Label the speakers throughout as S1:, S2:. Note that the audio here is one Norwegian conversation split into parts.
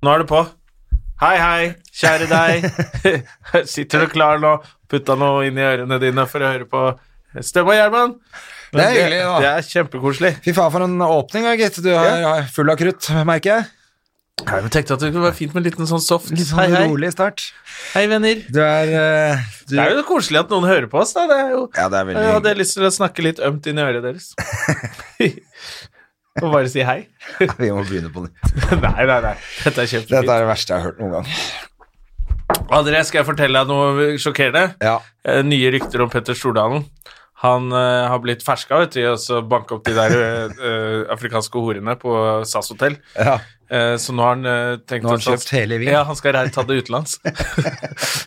S1: Nå er det på. Hei, hei, kjære deg. Sitter du klar nå? Putta noe inn i ørene dine for å høre på Støm og Gjerman.
S2: Det er hyggelig, da.
S1: Det er kjempekoselig.
S2: Fy faen, for en åpning, da, gitt. Du er er full av krutt, merker jeg.
S1: Jeg tenkte at det kunne være fint med en liten sånn soft
S2: Litt sånn
S1: hei, hei.
S2: rolig start.
S1: Hei, venner.
S2: Du er eh, du,
S1: Det er jo koselig at noen hører på oss. Da. Det er jo,
S2: Ja, det er veldig
S1: jeg hadde lyst til å snakke litt ømt inn i øret deres. Og bare si hei.
S2: Vi må begynne på nytt.
S1: Nei, nei, nei. Dette er
S2: Dette
S1: kjempefint.
S2: er det verste jeg har hørt noen gang.
S1: André, skal jeg fortelle deg noe sjokkerende?
S2: Ja.
S1: Eh, nye rykter om Petter Stordalen. Han eh, har blitt ferska vet du, og så banka opp de der eh, eh, afrikanske horene på SAS hotell.
S2: ja.
S1: Eh, så nå har han eh, tenkt
S2: Nå har
S1: at
S2: han kjøpt hele Wien.
S1: Ja, han skal rei- ta det utenlands.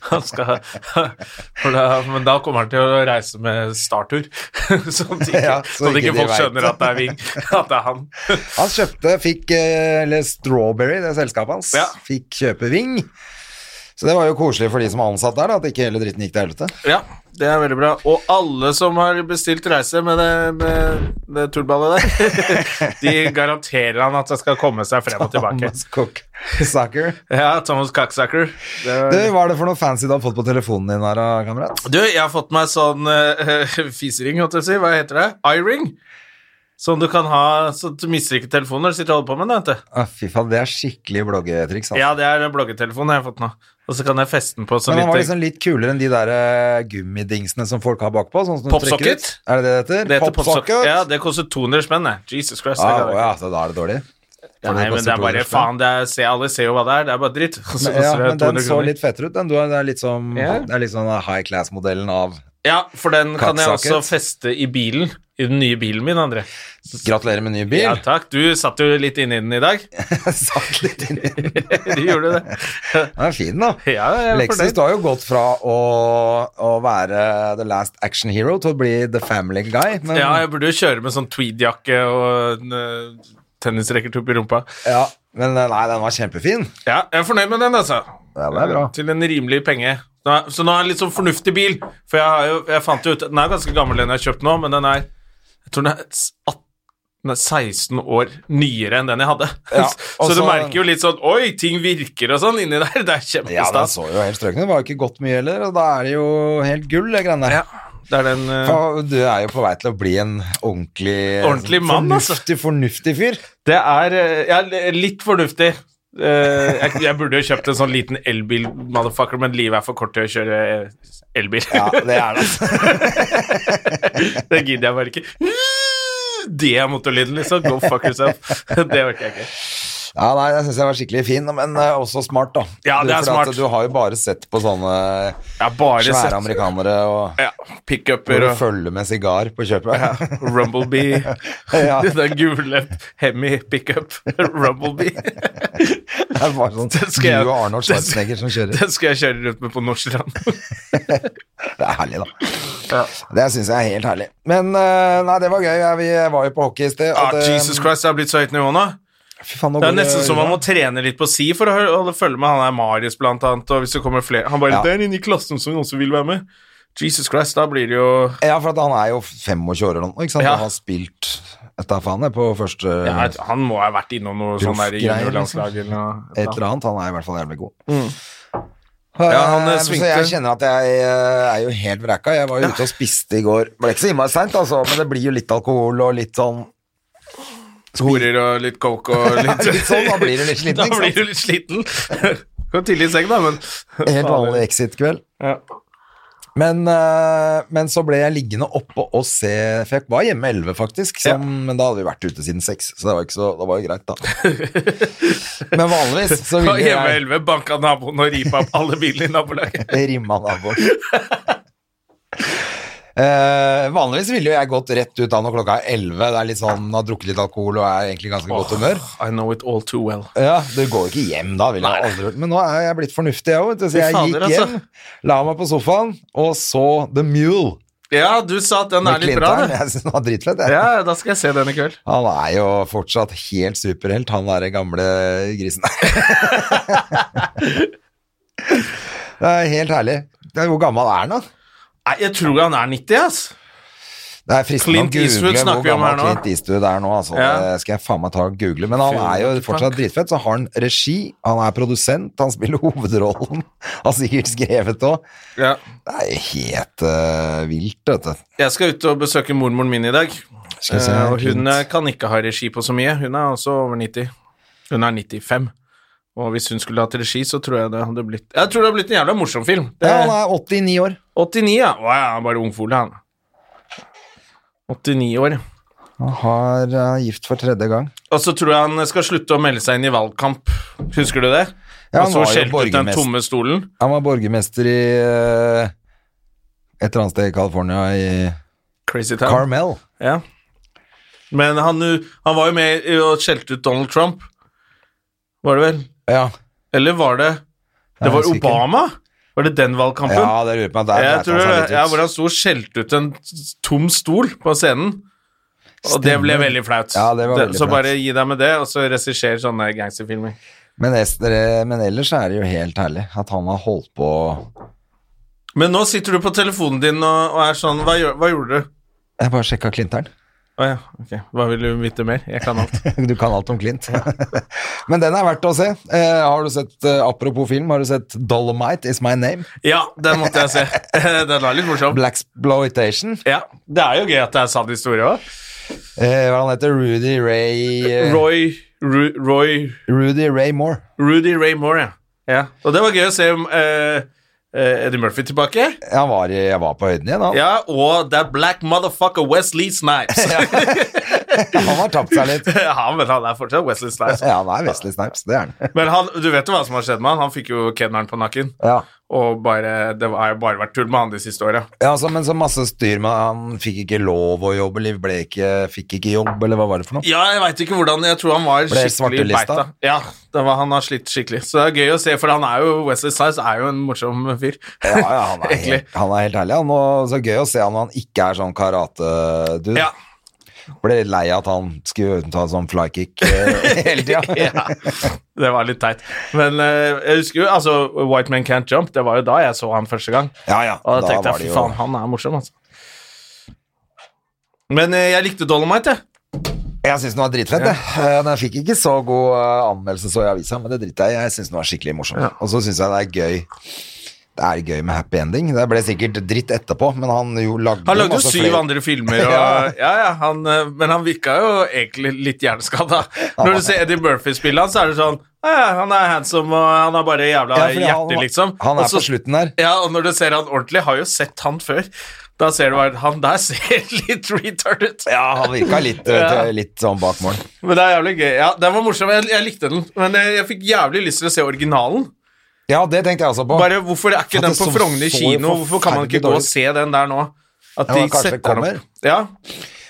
S1: han skal, for da, men da kommer han til å reise med startur, sånn at ikke,
S2: Ja,
S1: sånn
S2: så ikke
S1: at ikke
S2: de
S1: folk
S2: vet.
S1: skjønner at det er Ving, at det er han.
S2: Han kjøpte, fikk eh, Eller Strawberry, det er selskapet hans,
S1: Ja.
S2: fikk kjøpe Ving. Så det var jo koselig for de som er ansatt der, da, at ikke hele dritten gikk til helvete.
S1: Ja, det er veldig bra. Og alle som har bestilt reise med det, med det tullballet der, de garanterer han at det skal komme seg frem og tilbake.
S2: Thomas Cook Sucker.
S1: Ja, Thomas Cocksucker. Det var-
S2: Du, hva er det for noe fancy du har fått på telefonen din her, da, kamerat?
S1: Du, jeg har fått meg sånn eh, fisering, holdt jeg på å si. Hva heter det? Iring. Sånn du kan ha, så du mister ikke telefonen når du sitter og holder på med den. vet du.
S2: Å, fy faen, det er skikkelig bloggetriks. Altså.
S1: Ja, det er den bloggetelefonen jeg har fått nå. Og så kan jeg feste den på så
S2: Men han var
S1: vidt jeg
S2: liksom litt kulere enn de der eh, gummidingsene som folk har bakpå. Sånn som du trekker
S1: Popsocket?
S2: ut. Er det det det heter?
S1: det heter
S2: liksom Popsocket?
S1: popsocket. Ja, det koster 200 spenn, det. Jesus Christ. det
S2: Ah,
S1: kan jeg
S2: å
S1: ikke.
S2: ja, så da er det dårlig.
S1: Ja, Nei, men det er bare faen, det er, se, alle ser jo hva det er, det er bare dritt. Og
S2: Men,
S1: så
S2: ja,
S1: koster det
S2: men den
S1: 200
S2: så
S1: kroner.
S2: litt fetere ut. Den du har, det er litt som
S1: Ja.
S2: Det er liksom den high class-modellen av
S1: Ja, for den kan jeg også
S2: Kakesaket.
S1: feste i bilen, i den nye bilen min, André.
S2: Gratulerer med ny bil.
S1: Ja, takk. Du satt jo litt inne i den i dag.
S2: Satt litt inn i den.
S1: Du gjorde det.
S2: Den er fin, da.
S1: Ja, jeg er
S2: Lexus,
S1: fornøyd.
S2: du har jo gått fra å, å være the last action hero til å bli the family guy. Men,
S1: Ja, jeg burde jo kjøre med sånn tweedjakke og en eh, tennisracket opp i rumpa.
S2: ja, men eh, nei, den var kjempefin.
S1: Ja, jeg er fornøyd med den, altså.
S2: Ja, det er bra.
S1: Til en rimelig penge. Nå- Så nå er det en litt sånn fornuftig bil. For jeg, har jo, jeg fant jo ut Den er ganske gammel, den jeg har kjøpt nå, men den er Jeg tror den er s- 18 den er 16 år nyere enn den jeg hadde.
S2: Ja, og
S1: så du
S2: så-
S1: merker jo litt sånn Oi, ting virker og sånn inni der. Det er
S2: Ja, sånn. den
S1: kjempestas.
S2: så jo helt strøken ut. Var jo ikke godt mye heller, og da er det jo helt gull, det greiene der.
S1: Ja, det er den eh,
S2: For Du er jo på vei til å bli en ordentlig,
S1: Ordentlig mann, altså.
S2: fornuftig, fornuftig fyr.
S1: Det er eh, ja, litt fornuftig. Eh, jeg, jeg burde jo kjøpt en sånn liten elbil, motherfucker, men livet er for kort til å kjøre eh, elbil.
S2: Ja, det altså. er det.
S1: det gidder jeg bare ikke. Det er motorlyden, liksom. Go fuck yourself. Det orker jeg ikke.
S2: Ja, nei, jeg syns jeg var skikkelig fin, men eh, også smart, da.
S1: Ja,
S2: Du,
S1: det er
S2: for at
S1: smart.
S2: Du har jo bare sett på sånne
S1: Jeg har bare
S2: svære
S1: sett
S2: amerikanere og
S1: ja,
S2: hvor
S1: pickuper
S2: du
S1: og
S2: følger med sigar på kjøpet.
S1: Rumblebee.
S2: Ja.
S1: Den gule Hemi pickup. Rumblebee.
S2: Det er bare sånn
S1: Det skal jeg-
S2: du og Arnold
S1: det-
S2: Schwarzenegger som kjører.
S1: Den skal jeg kjøre rundt med på Nordstrand.
S2: Det er herlig, da. Det syns jeg er helt herlig. Men eh, nei, det var gøy. Jeg- Vi var jo på hockey i sted. og
S1: Ah,
S2: det-
S1: Jesus Christ, det har blitt så høyt nivå nå.
S2: Fy faen, nå
S1: Det
S2: går
S1: er nesten som man må trene litt på si for å hø- holde følge med. Han er Marius, blant annet, og hvis det kommer flere Han
S2: Ja.
S1: bare 'Det er inne i klassen som noen som vil være med'. Jesus Christ, da blir det jo
S2: Ja, for at han er jo 25 år eller noe, ikke sant?
S1: Ja.
S2: Og har spilt etter faen jeg, på første
S1: ja, Han må ha vært innom noe sånn der
S2: Proffgreier,
S1: juniorlandslag eller noe.
S2: et eller annet. Han er i hvert fall jævlig god.
S1: Mm. Ja, han, eh,
S2: Eh,
S1: svingte.
S2: Så jeg kjenner at jeg eh, er jo helt vrekka. Jeg var jo ute og spiste i går. Ble ikke så innmari seint, altså, men det blir jo litt alkohol og litt sånn
S1: Horer og litt coke og litt,
S2: Litt sånn, da blir du litt sliten,
S1: Da
S2: ikke
S1: blir
S2: sant?
S1: du litt sliten. Gå tidlig i seng, da, men
S2: Helt vanlig Exit-kveld.
S1: Ja.
S2: Men, eh, men så ble jeg liggende oppe og se For jeg var hjemme 11, faktisk. Som, Men da hadde vi vært ute siden 6, så det var, ikke så, det var jo greit, da. men vanligvis så
S1: Da
S2: ville jeg
S1: hjemme elleve banka naboen og ripa opp alle bilene i nabolaget.
S2: Rimma naboen. Eh, vanligvis ville jo jeg gått rett ut da når klokka er 11. Det er litt sånn, har drukket litt alkohol og er egentlig i ganske godt humør.
S1: I know it all too well.
S2: Ja, Du går jo ikke hjem da, ville jeg aldri gjort. Men nå er jeg blitt fornuftig, jeg òg. Så
S1: Fy
S2: jeg
S1: fader,
S2: gikk
S1: altså.
S2: hjem, la meg på sofaen og så The Mule.
S1: Ja, du sa at den
S2: med
S1: er litt
S2: Clint
S1: bra,
S2: Eastwood.
S1: du.
S2: Jeg synes den var dritfett, jeg.
S1: Ja, da skal jeg se den i kveld.
S2: Han er jo fortsatt helt superhelt, han derre gamle grisen. det er helt herlig. Det er, hvor gammel er han, da?
S1: Nei, jeg tror han er 90, ass.
S2: Det er fristende å
S1: Clint
S2: google
S1: Eastwood
S2: hvor
S1: snakker vi om
S2: gammel
S1: her nå.
S2: Clint Eastwood er nå. Altså.
S1: Ja.
S2: Det skal jeg faen meg ta og google. Men han er jo fortsatt dritfett. Så har han regi, han er produsent, han spiller hovedrollen. Han har sikkert skrevet òg.
S1: Ja.
S2: Det er jo helt eh, vilt, vet du.
S1: Jeg skal ut og besøke mormoren min i dag.
S2: Skal vi se
S1: Eh,
S2: her,
S1: og hun
S2: Clint.
S1: eh, kan ikke ha regi på så mye. Hun er også over 90. Hun er 95. Og hvis hun skulle hatt regi, så tror jeg det hadde blitt Jeg tror det hadde blitt en jævla morsom film. Det
S2: Ja,
S1: er
S2: han er 89 år.
S1: 89, ja. Å, ja, han er bare ungfole, han. 89 år.
S2: Han har eh, gift for tredje gang.
S1: Og så tror jeg han skal slutte å melde seg inn i valgkamp. Husker du det?
S2: Ja, han
S1: og så
S2: var jo
S1: skjelte ut den
S2: borgermester.
S1: tomme stolen.
S2: Han var borgermester i eh, et eller annet sted i California, i
S1: Crazy Town.
S2: Carmel.
S1: Ja. Men han, eh, han var jo med i å skjelte ut Donald Trump, var det vel?
S2: Ja,
S1: Eller var det Det
S2: jeg
S1: var
S2: husker ikke.
S1: Obama? Var det den valgkampen?
S2: ja det lurer på meg. Der
S1: jeg
S2: dreit
S1: tror
S2: han seg
S1: det,
S2: litt ut.
S1: ja, hvor han sto og skjelte ut en s- tom stol på scenen. Og det ble
S2: Stemmer.
S1: veldig flaut.
S2: Ja, det var veldig
S1: så
S2: flaut.
S1: bare gi deg med det, og så regisser sånne gangsterfilmer.
S2: men, es- dere- men ellers er det jo helt herlig at han har holdt på
S1: Men nå sitter du på telefonen din og, og er sånn Hva, gjør, hva gjorde du?
S2: Jeg bare sjekka Clinteren.
S1: Å ja, ok. Hva vil du vite mer? Jeg kan alt.
S2: Du kan alt om Clint. men den er verdt å se. Eh, har du sett, eh, Apropos film, har du sett 'Dolomite Is My Name'?
S1: Ja, den måtte jeg se. Den var litt morsom.
S2: Blaxploitation.
S1: Ja, Det er jo gøy at det er sann historie òg.
S2: Eh, hva han heter Rudy Ray eh,
S1: Roy, Ru, Roy
S2: Rudy Ray Moore.
S1: Rudy Ray Moore, ja. ja. Og det var gøy å se eh, eh, Eddie Murphy tilbake.
S2: Jeg var, i- jeg var på høyden igjen, han.
S1: Ja, og that black motherfucker Wesley Snipes.
S2: Han har tapt seg litt.
S1: ja, men han er fortsatt Wesley Snipes.
S2: Ja, han er Wesley Snipes, det er han.
S1: Men han, du vet jo hva som har skjedd med han? Han fikk jo kenneren på nakken.
S2: Ja.
S1: Og bare, det har jo bare vært tull med han de siste åra.
S2: Ja, altså, men så masse styr med Han fikk ikke lov å jobbe, eller ble ikke, fikk ikke jobb, eller hva var det for noe?
S1: Ja, jeg veit ikke hvordan Jeg tror han var
S2: Ble
S1: skikkelig
S2: svartelista?
S1: beita. Ja, det var, han har slitt skikkelig. Så det er gøy å se, for han er jo Wesley Snipes er jo en morsom fyr.
S2: Ja, ja, han er
S1: Egentlig.
S2: helt, han er helt herlig. Han, og så gøy å se han når han ikke er sånn karate-dude.
S1: Ja.
S2: Ble litt lei av at han skulle ta sånn flykick eh, hele tida.
S1: ja. Det var litt teit. Men eh, jeg husker jo altså White Man Can't Jump. Det var jo da jeg så han første gang.
S2: Ja, ja.
S1: Og da
S2: da
S1: tenkte
S2: var det
S1: jeg, fy
S2: jo-
S1: faen, han er morsom, altså. Men eh, jeg likte Dolomite, jeg.
S2: Jeg syns den var dritfett, jeg. Eh, Den fikk ikke så god eh, anmeldelse så i avisa, men det driter jeg i. Jeg syns den var skikkelig morsom. Og så syns jeg det er gøy. Det er gøy med happy ending. Det ble sikkert dritt etterpå, men han jo lagde
S1: Han lagde jo
S2: masse
S1: syv
S2: flere-
S1: andre filmer, og, ja, ja, han, eh, men han virka jo egentlig litt hjerneskada. Når du ser Eddie Murphy spille han, så er det sånn «Ja, ja, Han er handsome, og han har bare jævla
S2: Ja, fordi
S1: hjerte, liksom.
S2: Han
S1: Og
S2: er
S1: så-
S2: på slutten der.
S1: Ja, og når du ser han ordentlig, har jo sett han før. Da ser du bare Han der ser litt retard ut.
S2: Ja, han virka litt,
S1: Ja.
S2: litt sånn bak mål.
S1: Men det er jævlig gøy. Ja, den var morsom. Jeg, jeg likte den. Men jeg, jeg fikk jævlig lyst til å se originalen.
S2: Ja, det tenkte jeg også på.
S1: Bare Hvorfor er ikke
S2: At
S1: den
S2: det
S1: på
S2: så-
S1: Frogner
S2: så
S1: kino? Hvorfor kan man ikke
S2: forferdelig
S1: gå og
S2: dårlig.
S1: se den der nå? At
S2: Ja, men kanskje det kommer.
S1: Ja.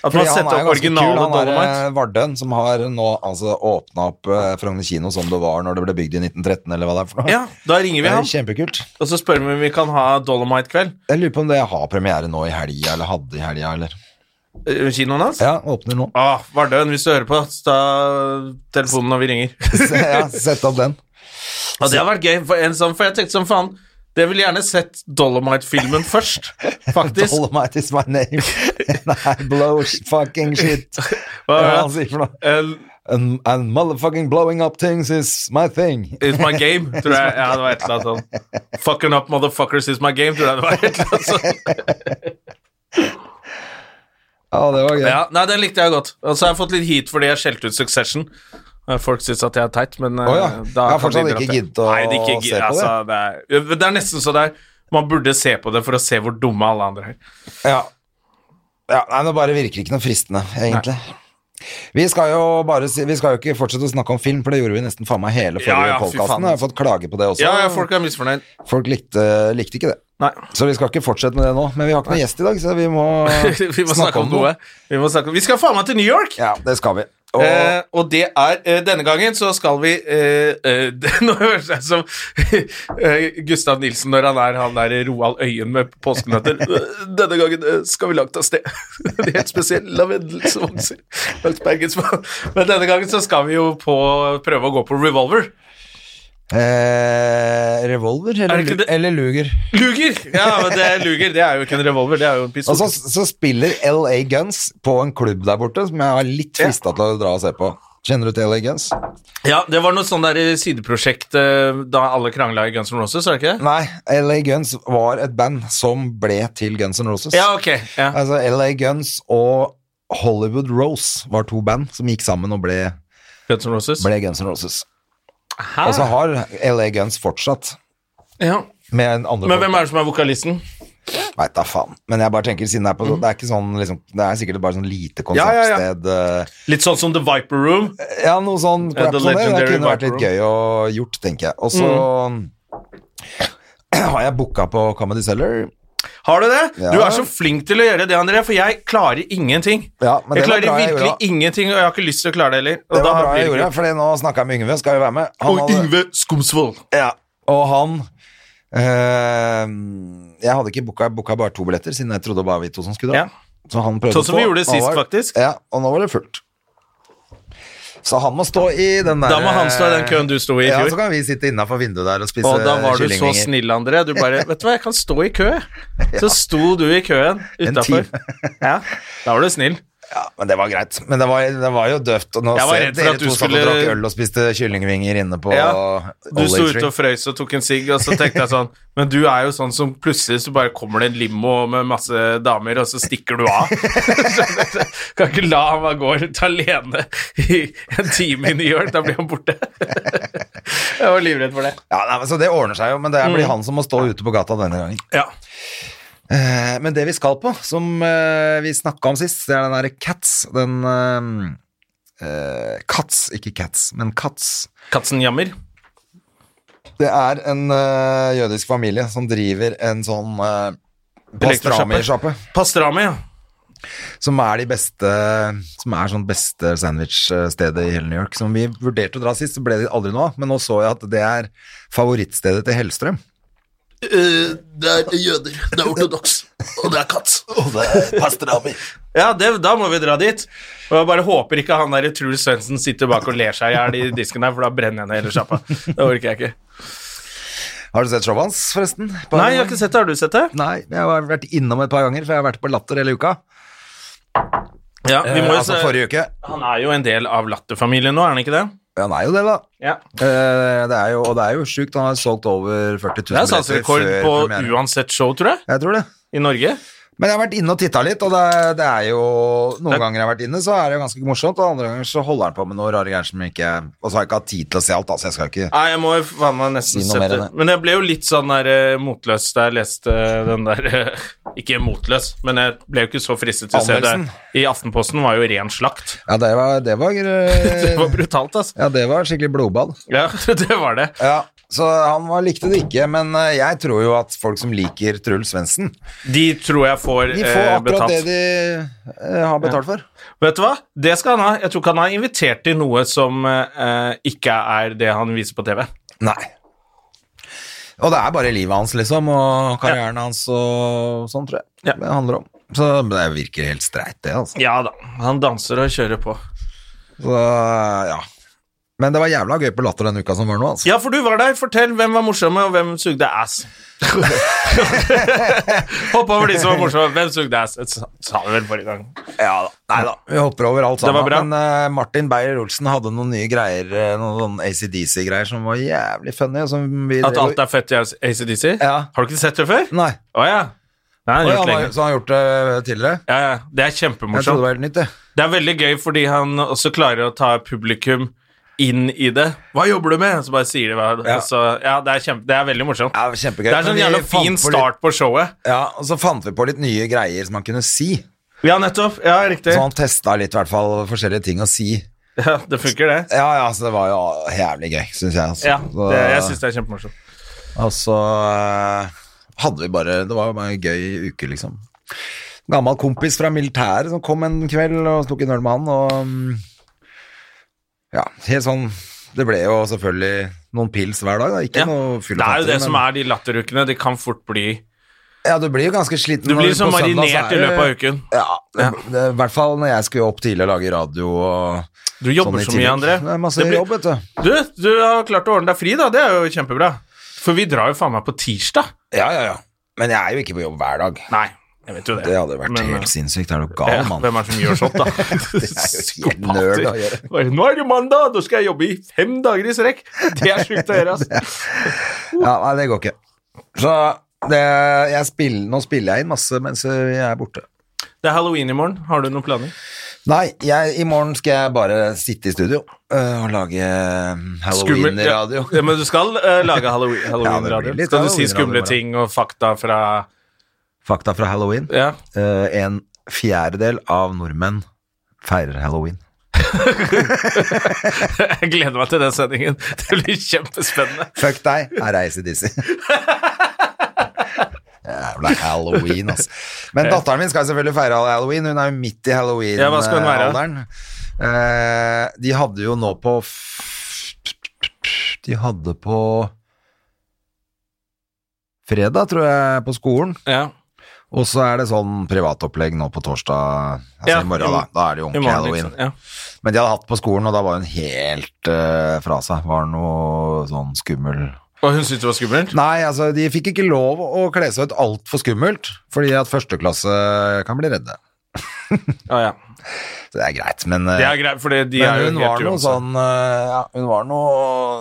S1: At man
S2: Fordi
S1: setter
S2: er
S1: opp
S2: ganske kul.
S1: originale
S2: Han
S1: Dolomite.
S2: er eh, Vardøen, som har nå altså åpna opp eh, Frogner kino som det var når det ble bygd i 1913, eller hva det er for noe.
S1: Ja, da
S2: Det
S1: ringer vi
S2: er
S1: ham,
S2: kjempekult.
S1: og så spør vi om vi kan ha Dolomite-kveld.
S2: Jeg lurer på om det har premiere nå i helga, eller hadde i helga, eller
S1: Eh, Kinoen hans.
S2: Ja, åpner nå.
S1: Ah, Vardøen, hvis du hører på, ta telefonen når vi ringer.
S2: Så, ja, sett opp den.
S1: Og det har vært gøy, for, en sånn, for jeg tenkte som faen Det ville gjerne sett Dolomite-filmen først, faktisk.
S2: Dolomite is my name. Nei, blow sh- fucking shit. Hva
S1: Hva
S2: er
S1: er
S2: det
S1: det?
S2: han sier for noe?
S1: Eh,
S2: And, and motherfucking blowing up things is my thing.
S1: It's my game, tror jeg. Ja, det var et eller annet sånn Fucking up motherfuckers is my game, tror jeg det var et eller annet sånn.
S2: Ja, det var gøy.
S1: Ja, nei, den likte jeg godt. Og så har jeg fått litt heat fordi jeg skjelte ut Succession. Eh, Folk syns at jeg er teit, men eh,
S2: Å ja. Jeg har
S1: kan
S2: fortsatt
S1: de dra
S2: ikke
S1: til.
S2: giddet å
S1: Nei, det er ikke, gi-
S2: se på
S1: altså, det. er, det er nesten så det er Man burde se på det for å se hvor dumme alle andre er.
S2: Ja. ja nei, det bare virker ikke noe fristende, egentlig. Vi skal, jo bare si, vi skal jo ikke fortsette å snakke om film, for det gjorde vi nesten faen meg hele
S1: Ja,
S2: forrige
S1: ja, fy
S2: podcasten.
S1: faen.
S2: Jeg har fått klage på det også.
S1: Ja, ja, folk er misfornøyd.
S2: Folk likte, likte ikke det.
S1: Nei.
S2: Så vi skal ikke fortsette med det nå. Men vi har ikke noen gjest i dag, så vi må,
S1: Vi må snakke om noe. Vi, må snakke om. vi skal faen meg til New York!
S2: Ja, det skal vi. Og
S1: Eh, og det er eh, Denne gangen så skal vi eh, eh, det- Nå høres jeg som eh, Gustav Nilsen når han er han der Roald Øyen med påskenøtter. Eh, denne gangen eh, skal vi langt av sted. det er helt spesiell lavendelsvogser langs Bergensbanen. Men denne gangen så skal vi jo på, prøve å gå på revolver.
S2: eh, revolver
S1: Er
S2: eller,
S1: det ikke det-
S2: eller luger.
S1: Luger! Ja, men det er luger. Det er jo ikke en revolver, det er jo en pistol.
S2: Og så, så spiller LA Guns på en klubb der borte som jeg var litt frista til å dra og se på. Kjenner du til LA Guns?
S1: ja, det var noe sånn der eh, sideprosjekt eh, da alle krangla i Guns N' Roses, er det ikke det?
S2: Nei, LA Guns var et band som ble til Guns N' Roses.
S1: Ja, ok. Ja.
S2: Altså LA Guns og Hollywood Rose var to band som gikk sammen og ble,
S1: Guns N' Roses.
S2: ble Guns N' Roses.
S1: Hæ?
S2: Og
S1: Ah.
S2: så har LA Guns fortsatt
S1: Ja.
S2: med en andre
S1: Men hvem er det som er vokalisten?
S2: Veit da faen. Men jeg bare tenker siden det er på Det er ikke sånn liksom Det er sikkert bare sånn lite
S1: Mhm. Ja, ja, ja.
S2: konsertsted. eh,
S1: Litt sånn som The Viper Room.
S2: Ja, noe sånn
S1: Ja,
S2: crap
S1: The
S2: som det. Det
S1: Legendary Mhm.
S2: kunne vært litt
S1: Viper
S2: gøy å gjort, tenker jeg. Og så har jeg booka på Comedy Cellar.
S1: Har du det?
S2: Ja.
S1: Du er så flink til å gjøre det, André, for jeg klarer ingenting.
S2: Ja, men det var
S1: jeg
S2: bra
S1: klarer
S2: jeg
S1: virkelig
S2: gjorde, da.
S1: ingenting, og jeg har ikke lyst til å klare det heller. Og
S2: Det
S1: da
S2: var bra
S1: blir
S2: jeg
S1: det
S2: gjorde,
S1: ikke-
S2: for nå snakka jeg med Yngve, skal jo være med. Han
S1: Og
S2: hadde-
S1: Yngve Skomsvold.
S2: Ja. Og han eh, Jeg hadde ikke booka, jeg booka bare to billetter, siden jeg trodde det var vi to som skulle
S1: Ja.
S2: dra. Så han prøvde
S1: Sånn som
S2: på.
S1: vi gjorde det
S2: Nå
S1: sist,
S2: var-
S1: faktisk.
S2: Ja, og nå var det fullt. Så han må stå i den der eh,
S1: Da må han stå i den køen du sto i i
S2: Ja,
S1: fjor.
S2: så kan vi sitte innafor vinduet der og spise
S1: Og da var du så
S2: kyllingvinger.
S1: snill, André. Du bare Vet du hva, jeg kan stå i kø. Så sto du i køen
S2: En
S1: utafor.
S2: time.
S1: Ja, da var du snill.
S2: Ja, men det var greit. Men det var, det var jo døvt. Og nå
S1: Jeg var
S2: ser
S1: redd for
S2: dere
S1: at du
S2: to satt
S1: skulle-
S2: og drakk øl og spiste kyllingvinger inne på
S1: Ja, Du
S2: Olive
S1: sto ute
S2: Tree.
S1: og frøys og tok en sigg, og så tenkte jeg sånn Men du er jo sånn som plutselig så bare kommer det en limo med masse damer, og så stikker du av. Så kan ikke la han bare gå rundt alene i en time i New York, da blir han borte. Jeg var livredd for det.
S2: Ja, nei, men Så det ordner seg jo, men det
S1: Mm.
S2: blir han som må stå ute på gata denne gangen.
S1: Ja.
S2: Eh, Men det vi skal på, som eh, vi snakka om sist, det er den derre Cats. Den eh, eh, Cats, ikke Cats, men Cats.
S1: Katzen jammer.
S2: Det er en eh, jødisk familie som driver en sånn uh,
S1: Elektrosjappe.
S2: pastrami-sjappe.
S1: Pastrami, ja.
S2: Som er de beste Som er sånn beste sandwich-stedet i hele New York. Som vi vurderte å dra sist, så ble det aldri noe av. Men nå så jeg at det er favorittstedet til Hellstrøm.
S1: det er jøder, det er ortodoks, og det er katt.
S2: Pastrami.
S1: Ja, det, da må vi dra dit. Og jeg bare håper ikke han der Truls Svendsen sitter bak og ler seg i hjel i disken der, for da brenner jeg ned hele sjappa. Det orker jeg ikke.
S2: Har du sett showet hans, forresten? På-
S1: Nei, jeg har ikke sett det. Har du sett det?
S2: Nei, jeg har vært innom et par ganger, for jeg har vært på Latter hele uka.
S1: Ja, vi
S2: Eh,
S1: må jo
S2: altså
S1: se.
S2: forrige uke.
S1: Han er jo en del av Latter-familien nå, er han ikke det?
S2: Ja, han er jo det, da.
S1: Ja.
S2: Eh, Det er jo, og det er jo sjukt. Han har solgt over 40
S1: Det
S2: 000
S1: er salgsrekord på
S2: premieren.
S1: uansett show, tror jeg,
S2: Jeg tror det.
S1: i Norge.
S2: Men jeg har vært inne og titta litt, og det, er- det er jo Noen
S1: Det-
S2: ganger jeg har vært inne, så er det jo ganske morsomt, og andre ganger så holder han på med noe rare greier som ikke Og så har jeg ikke hatt tid til å se alt, da, så jeg skal ikke
S1: Nei, jeg må jo faen meg nesten
S2: Si noe mer enn
S1: sette
S2: det.
S1: Men jeg ble jo litt sånn der eh, motløs da jeg leste den der eh, Ikke motløs, men jeg ble jo ikke så fristet til å se det.
S2: Anmeldelsen.
S1: I Aftenposten var jo ren slakt.
S2: Ja, det var Det var, eh,
S1: Det var brutalt, altså.
S2: ja, det var skikkelig blodbad.
S1: Ja, det var det.
S2: Ja, så han var, likte det ikke, men eh, jeg tror jo at folk som liker Truls Svendsen,
S1: De tror jeg får,
S2: de får
S1: eh,
S2: akkurat
S1: betalt.
S2: det de eh, har betalt for.
S1: Vet du hva? Det skal han ha. Jeg tror ikke han har invitert til noe som eh, ikke er det han viser på TV.
S2: Nei. Og det er bare livet hans, liksom, og karrieren hans og sånn, tror jeg.
S1: Ja.
S2: Det handler om. Så det virker helt streit, det, altså.
S1: Ja da, han danser og kjører på.
S2: Så, ja. Men det var jævla gøy på Latter den uka som var nå, altså.
S1: Ja, for du var der. Fortell hvem var morsomme, og hvem sugde ass. Hopp over de som var morsomme. Hvem sugde ass? Det sa vi vel forrige gang.
S2: da. Nei da. Vi hopper over alt
S1: Det var
S2: sammen.
S1: bra.
S2: Men eh, Martin Beyer-Olsen hadde noen nye greier, eh, noen sånne ACDC-greier som var jævlig funny. og Som vi
S1: At alt er fett i ACDC?
S2: Ja.
S1: Har du ikke sett det før?
S2: Nei.
S1: Å ja. Nei,
S2: Oi,
S1: det er
S2: han har,
S1: gjort lenge.
S2: så han har gjort det eh, tidligere?
S1: Ja, ja. Det er
S2: Jeg trodde det
S1: kjempemorsomt.
S2: var helt nytt, det.
S1: Det er veldig gøy fordi han også klarer å ta publikum inn i det. Hva jobber du med? Så bare sier de hva.
S2: Ja.
S1: Ja, så, ja det, er kjempe, det er veldig morsomt.
S2: Ja, kjempegøy.
S1: Det er sånn
S2: Men vi
S1: jævla
S2: fant
S1: fin
S2: på litt-
S1: start på showet.
S2: Ja, og så fant vi på litt nye greier som han kunne si.
S1: Ja, nettopp. Ja, riktig.
S2: Så han testa litt, i hvert fall, forskjellige ting å si.
S1: Ja, det funker, det.
S2: Ja, ja, så det var jo jævlig gøy, syns jeg. Altså.
S1: Ja,
S2: Så-
S1: det, jeg syns det er kjempemorsomt.
S2: Og så eh, hadde vi bare Det var bare en gøy uke, liksom. Gammel kompis fra militæret som kom en kveld og tok en øl med han, og mm, Ja, helt sånn Det ble jo selvfølgelig noen pils hver dag, da. Ikke
S1: Ja.
S2: noe
S1: Det er jo det som
S2: men-
S1: er de latterukene. De kan fort bli
S2: Ja, du blir jo ganske sliten.
S1: Du
S2: når
S1: blir liksom
S2: på søndag så
S1: marinert
S2: er
S1: i
S2: det-
S1: løpet av uken.
S2: Ja, det- det- i hvert fall når jeg skulle opp tidlig og lage radio og
S1: Du jobber
S2: sånn i
S1: så mye,
S2: tillegg.
S1: André.
S2: Det er masse
S1: Det blir-
S2: jobb, vet du.
S1: Du, du har klart å ordne deg fri, da. Det er jo kjempebra. For vi drar jo faen meg på tirsdag.
S2: Ja, ja, ja. Men jeg er jo ikke på jobb hver dag.
S1: Nei, jeg vet jo det.
S2: Det hadde vært
S1: Men,
S2: helt
S1: eh,
S2: sinnssykt. Er du
S1: ja,
S2: gal, mann?
S1: Hvem er det som gjør sånt, da?
S2: jo helt nerd å gjøre.
S1: Bare, Nå er det jo mandag, da skal jeg jobbe i fem dager i strekk! Det er sjukt å gjøre, ass.
S2: Ja, nei, det går ikke. Så det, jeg spill, nå spiller jeg inn masse mens jeg er borte.
S1: Det er halloween i morgen. Har du noen planer?
S2: Nei, jeg, i morgen skal jeg bare sitte i studio øh, og lage øh, halloween-radio.
S1: Ja, men du skal eh, lage halloween- halloween-radio.
S2: Ja, det blir litt
S1: skal du si
S2: halloween-radio i
S1: skumle
S2: morgen.
S1: ting og fakta fra
S2: Fakta fra halloween.
S1: Ja.
S2: Eh, en fjerdedel av nordmenn feirer halloween.
S1: Jeg gleder meg til den sendingen. Det blir kjempespennende.
S2: Fuck deg, her er ACDC. Jævla halloween, altså. Men datteren min skal selvfølgelig feire halloween. Hun er jo midt i
S1: Ja, hva skal hun være?
S2: halloween-alderen. Eh, de hadde jo nå på f- De hadde på fredag, tror jeg, på skolen.
S1: Ja.
S2: Og så er det sånn privatopplegg nå på torsdag. Altså
S1: Ja,
S2: i morgen, da. Da er det jo
S1: I
S2: ordentlig
S1: morgen,
S2: halloween.
S1: liksom. Ja.
S2: Men de hadde hatt på skolen, og da var hun helt eh, fra seg. Var noe sånn skummel
S1: Og hun syntes det var skummelt?
S2: Nei, altså, de fikk ikke lov å kle seg ut altfor skummelt, fordi at førsteklasse kan bli redde.
S1: Ja, ja.
S2: Så det er greit, men, eh,
S1: Det er greit, for de er
S2: men
S1: jo
S2: hun
S1: helt
S2: var noe
S1: uansett.
S2: sånn eh, Ja, hun var noe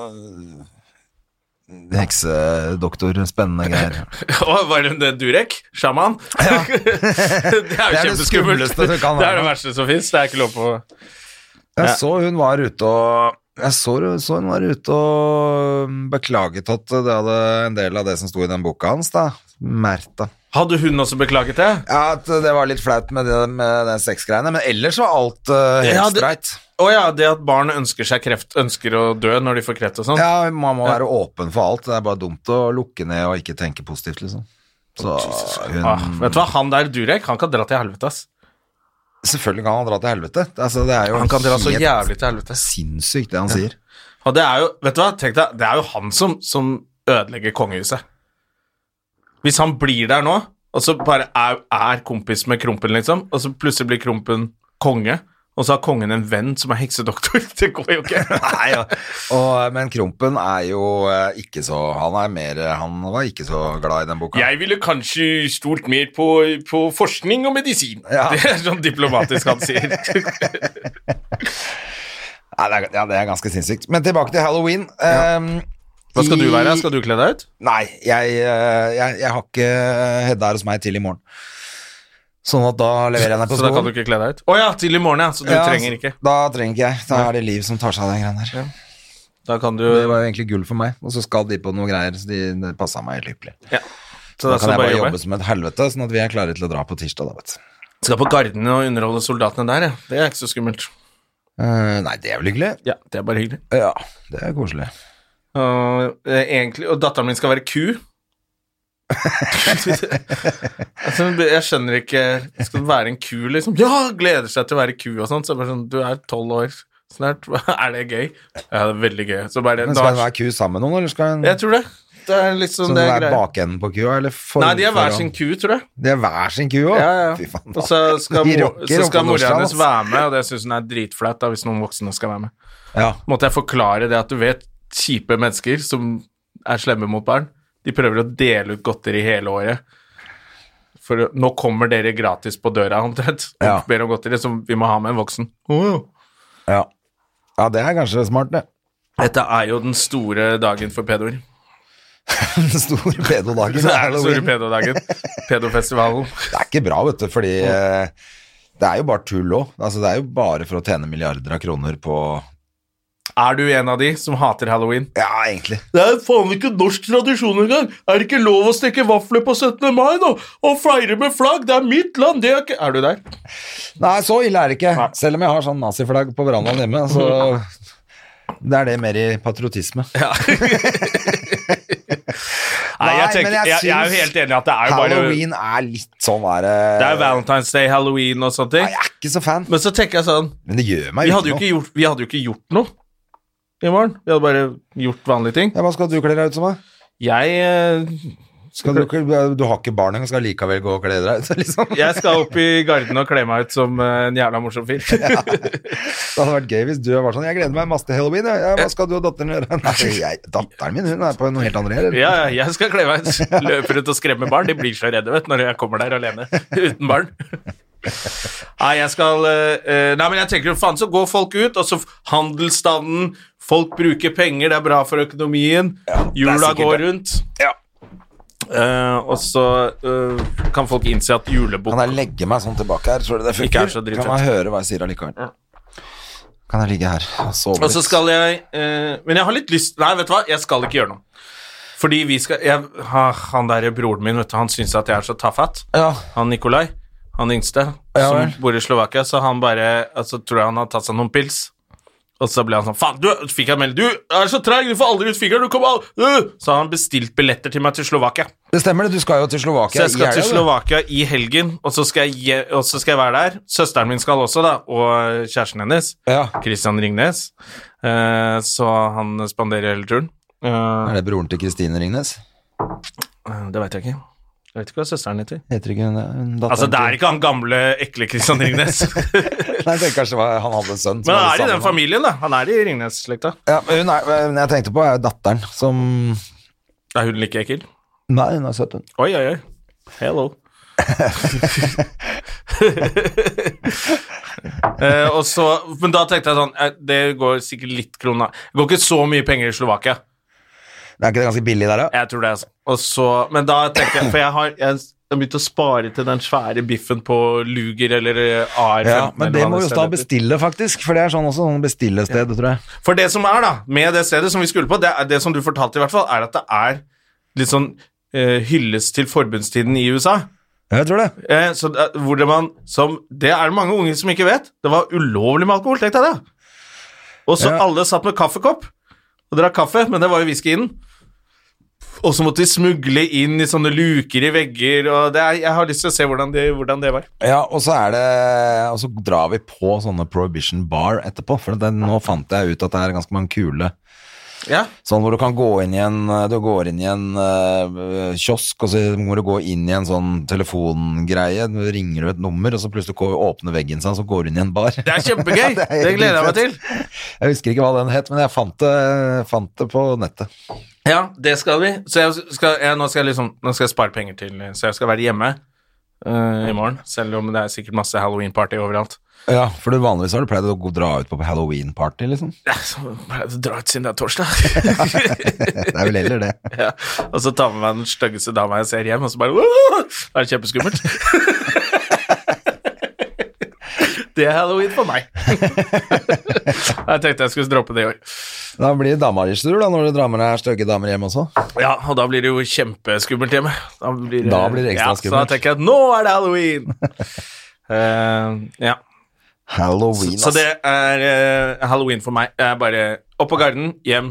S2: eh, Heksedoktor, spennende greier.
S1: Å, var hun det Durek? Sjaman? det er jo
S2: Det er det
S1: kjempeskummelt.
S2: skumleste du kan
S1: det
S2: være.
S1: er det verste som fins. Det er ikke lov på
S2: Jeg så hun var ute og jeg så, så hun var ute og beklaget at det hadde en del av det som sto i den boka hans, da. Märtha.
S1: Hadde hun også beklaget det?
S2: Ja, at det var litt flaut med, det, med den sexgreiene, men ellers var alt eh, helt
S1: Ja, det-
S2: streit.
S1: Å ja, det at barn ønsker seg kreft, ønsker å dø når de får kreft og sånn.
S2: Ja, man må være åpen for alt. Det er bare dumt å lukke ned og ikke tenke positivt, liksom. Så hun
S1: Ah, vet du hva, han der Durek, han kan dra til helvete, ass.
S2: Selvfølgelig kan han dra til helvete. Altså, det er jo
S1: Han kan dra så
S2: helt
S1: jævlig til helvete.
S2: sinnssykt, det han sier.
S1: Og det er jo, vet du hva, tenk deg, det er jo han som, som ødelegger kongehuset. Hvis han blir der nå, og så bare er, er kompis med Krompen, liksom, og så plutselig blir Krompen konge, og så har kongen en venn som er heksedoktor, det går jo ikke.
S2: Nei, ja. og, men Krompen er jo eh, ikke så Han er mer eh, Han var ikke så glad i den boka.
S1: Jeg ville kanskje stolt mer på, på forskning og medisin.
S2: Ja.
S1: Det er sånn diplomatisk han sier.
S2: Nei, det er, ja, det er ganske sinnssykt. Men tilbake til halloween. Ehm,
S1: Hva skal du
S2: i-
S1: være? Skal du kle deg ut?
S2: Nei, jeg, eh, jeg, jeg har ikke eh, Hedda her hos meg til i morgen. Sånn at da leverer jeg henne på
S1: Så da kan du
S2: skolen.
S1: ikke kle deg ut? Å ja, til i morgen, ja. Så du
S2: Ja, altså.
S1: trenger ikke.
S2: Da trenger ikke jeg. Da er det Liv som tar seg av den greia der.
S1: Da kan du
S2: Det var jo egentlig gull for meg, og så skal de på noe greier, så de, det passa meg helt ypperlig.
S1: ja. Så
S2: Da kan
S1: da skal
S2: jeg
S1: du
S2: bare jobbe som et helvete, sånn at vi er klare til å dra på tirsdag, da, vet du.
S1: Skal på Garden og underholde soldatene der, ja. Det er ikke så skummelt.
S2: Eh, nei, det er vel hyggelig? Eh,
S1: Ja, det er bare hyggelig.
S2: Ja, det er koselig.
S1: Og, eh, egentlig, og datteren min skal være ku. altså, jeg skjønner ikke Skal du være en ku, liksom? Ja, gleder seg til å være ku og sånt. Så jeg bare sånn, du er tolv år snart. Er det gøy? Ja, det er veldig gøy. Så bare
S2: Men skal hun være ku sammen med noen, eller skal hun
S1: Jeg tror det. Det er liksom
S2: skal hun
S1: det er
S2: være
S1: greia.
S2: bakenden på kua, eller for,
S1: Nei, de er hver
S2: foran?
S1: sin ku, tror jeg.
S2: De er hver sin ku òg?
S1: Ja, ja.
S2: Fy faen.
S1: Og så skal,
S2: De
S1: mo-
S2: rocker
S1: så skal
S2: oppe på
S1: mora
S2: Nordstrand,
S1: hennes
S2: ass.
S1: være med, og det syns hun er dritflaut da, hvis noen voksne skal være med.
S2: Ja.
S1: måtte jeg forklare det at du vet kjipe mennesker som er slemme mot barn, de prøver å dele ut godteri hele året. For nå kommer dere gratis på døra, omtrent. Og
S2: Ja.
S1: ber om godteri, så vi må ha med en voksen. Åh.
S2: ja. Ja, det er kanskje smart, det.
S1: Dette er jo den store dagen for pedoer.
S2: Den store pedodagen.
S1: Det er den store
S2: Halloween.
S1: pedodagen. Pedofestivalen.
S2: Det er ikke bra, vet du, fordi eh, det er jo bare tull òg. Altså, det er jo bare for å tjene milliarder av kroner på
S1: Er du en av de som hater halloween?
S2: Ja, egentlig.
S1: Det er faen ikke norsk tradisjon engang! Er det ikke lov å steke vafler på 17. mai, da? Og feire med flagg! Det er mitt land! Det er ikke Er du der?
S2: Nei, så ille er det ikke. Selv om jeg har sånn naziflagg på verandaen hjemme, så det er det mer i patriotisme.
S1: Ja. Nei, jeg,
S2: Nei, men
S1: tenker,
S2: jeg
S1: jeg, jeg er jo
S2: syns
S1: helt enig i at det er jo bare
S2: Halloween er litt sånn der
S1: Det er jo Valentine's Day, Halloween og sånne
S2: Nei,
S1: ting.
S2: Jeg er ikke så fan,
S1: Men så tenker jeg sånn
S2: men det gjør meg
S1: Vi hadde jo ikke gjort, vi hadde jo ikke gjort noe i morgen. Vi hadde bare gjort vanlige ting.
S2: Ja, Hva skal du kle deg ut som, da?
S1: Jeg, eh,
S2: Skal du, ikke- du har ikke barn engang, skal likevel gå og kle deg ut? Liksom.
S1: jeg skal opp i garden og kle meg ut som eh, en jævla morsom fyr.
S2: Det hadde vært gøy hvis du var sånn Jeg gleder meg masse til halloween. Jeg. Ja, Hva skal du og datteren gjøre? Nei, jeg, datteren min hun er på noe helt annet. eller?
S1: Ja, ja, jeg skal kle meg ut. Løper ut og skremmer barn. De blir så redde, vet du, når jeg kommer der alene uten barn. Nei, jeg skal eh, eh, Nei, men jeg tenker jo faen, så går folk ut, og så f- handelsstanden Folk bruker penger, det er bra for økonomien.
S2: er
S1: Jula
S2: sikkert
S1: går
S2: det.
S1: rundt. Eh, og så eh, kan folk innse at julebukk
S2: Kan jeg legge meg sånn tilbake her? Tror du det
S1: Ikke er
S2: funker?
S1: så dritfett.
S2: Kan man høre hva jeg sier allikevel? Kan jeg ligge her og sove
S1: Og så skal jeg eh, Men jeg har litt lyst Nei, vet du hva? Jeg skal ikke gjøre noe. Fordi vi skal jeg, ha- Han der broren min, vet du, han syns at jeg er så tafatt.
S2: Ja.
S1: Han Nikolai, han yngste,
S2: Ja
S1: som
S2: vel.
S1: bor i Slovakia, så han bare altså, tror jeg han har tatt seg noen pils. Og så ble han sånn Faen, du fikk jeg en melding. Du er så treig, du får aldri ut fingeren. Du kommer al- øh!» Så har han bestilt billetter til meg til Slovakia.
S2: Det stemmer det, du skal jo til
S1: Så
S2: Slovakia
S1: jeg
S2: i
S1: skal til
S2: helga, du.
S1: Slovakia i helgen, og så skal jeg, je- og så skal jeg være der. Søsteren min skal også, da, og kjæresten hennes.
S2: Ja.
S1: Christian Ringnes. Eh, så han spanderer hele turen. Eh,
S2: Er det broren til Kristine Ringnes?
S1: det veit jeg ikke. Jeg vet ikke hva søsteren heter.
S2: Heter ikke hun det? Hun datteren
S1: Altså, det er
S2: til-
S1: ikke han gamle, ekle Christian Ringnes.
S2: Nei, jeg tenker kanskje hva- han hadde en sønn. som
S1: Men han
S2: hadde
S1: er i
S2: samme
S1: den
S2: navn.
S1: familien, da. Han er i Ringnes-slekta.
S2: Ja, men hun er, men jeg tenkte på er datteren som
S1: Er hun like ekkel?
S2: Nei, hun er søt, hun.
S1: Oi, oi, oi. Hello. eh, og så, men da tenkte jeg sånn eh, Det går sikkert litt krona Det går ikke så mye penger i Slovakia.
S2: Det er ikke det ganske billig der, da?
S1: Jeg tror det, altså. Og så, men da tenkte jeg For jeg har, jeg har begynt å spare til den svære biffen på Luger eller eh, AR15.
S2: Ja, men det
S1: eller hva
S2: må vi også
S1: stedet
S2: da
S1: heter.
S2: bestille, faktisk. For det er sånn også sånn bestillested, tror jeg.
S1: For det som er, da, med det stedet som vi skulle på, det, er, det som du fortalte, i hvert fall, er at det er litt sånn eh, hyllest til forbundstiden i USA.
S2: Ja, Jeg tror det.
S1: Eh, så det, er- hvor det man som Det er det mange unge som ikke vet. Det var ulovlig med alkohol, tenk deg det. Og så
S2: Ja.
S1: alle satt med kaffekopp og drakk kaffe, men det var jo whisky i den. Og så måtte de smugle inn i sånne luker i vegger, og det er, jeg har lyst til å se hvordan det, hvordan det var.
S2: Ja, og så er det Og så drar vi på sånne Prohibition Bar etterpå, for det, nå fant jeg ut at det er ganske mange kule
S1: Ja.
S2: Sånn hvor du kan gå inn i en Du går inn i en eh, kiosk, og så må du gå inn i en sånn telefongreie, du ringer du et nummer, og så plutselig går- åpner veggen seg, og så går du inn i en bar.
S1: Det er
S2: Ja,
S1: kjempegøy!
S2: det er
S1: det gleder jeg meg
S2: helt
S1: til.
S2: Jeg husker ikke hva den het, men jeg fant det, fant det på nettet.
S1: Ja, det skal vi. Så jeg skal, jeg, nå, skal jeg liksom, nå skal jeg spare penger til Så jeg skal være hjemme eh, i morgen, selv om det er sikkert masse halloween-party overalt.
S2: Ja, for du- vanligvis har du pleid å gå- dra ut på halloween-party, liksom.
S1: Ja, så bare dra ut siden det er torsdag.
S2: Det er vel heller det.
S1: ja. Og så ta med meg den styggeste dama jeg ser hjem, og så bare «Åh!» Det er kjempeskummelt. det er halloween for meg. jeg tenkte jeg skulle droppe det i år.
S2: Da blir det damearrangør da, når du drar med deg stygge damer hjem også.
S1: Ja, og da blir det jo kjempeskummelt hjemme. Da blir det,
S2: Da blir det ekstra
S1: ja, Så da
S2: skummelt.
S1: tenker jeg at nå er det halloween! Eh, ja.
S2: Halloween,
S1: Så det er eh, halloween for meg. Jeg er bare opp på garden, hjem.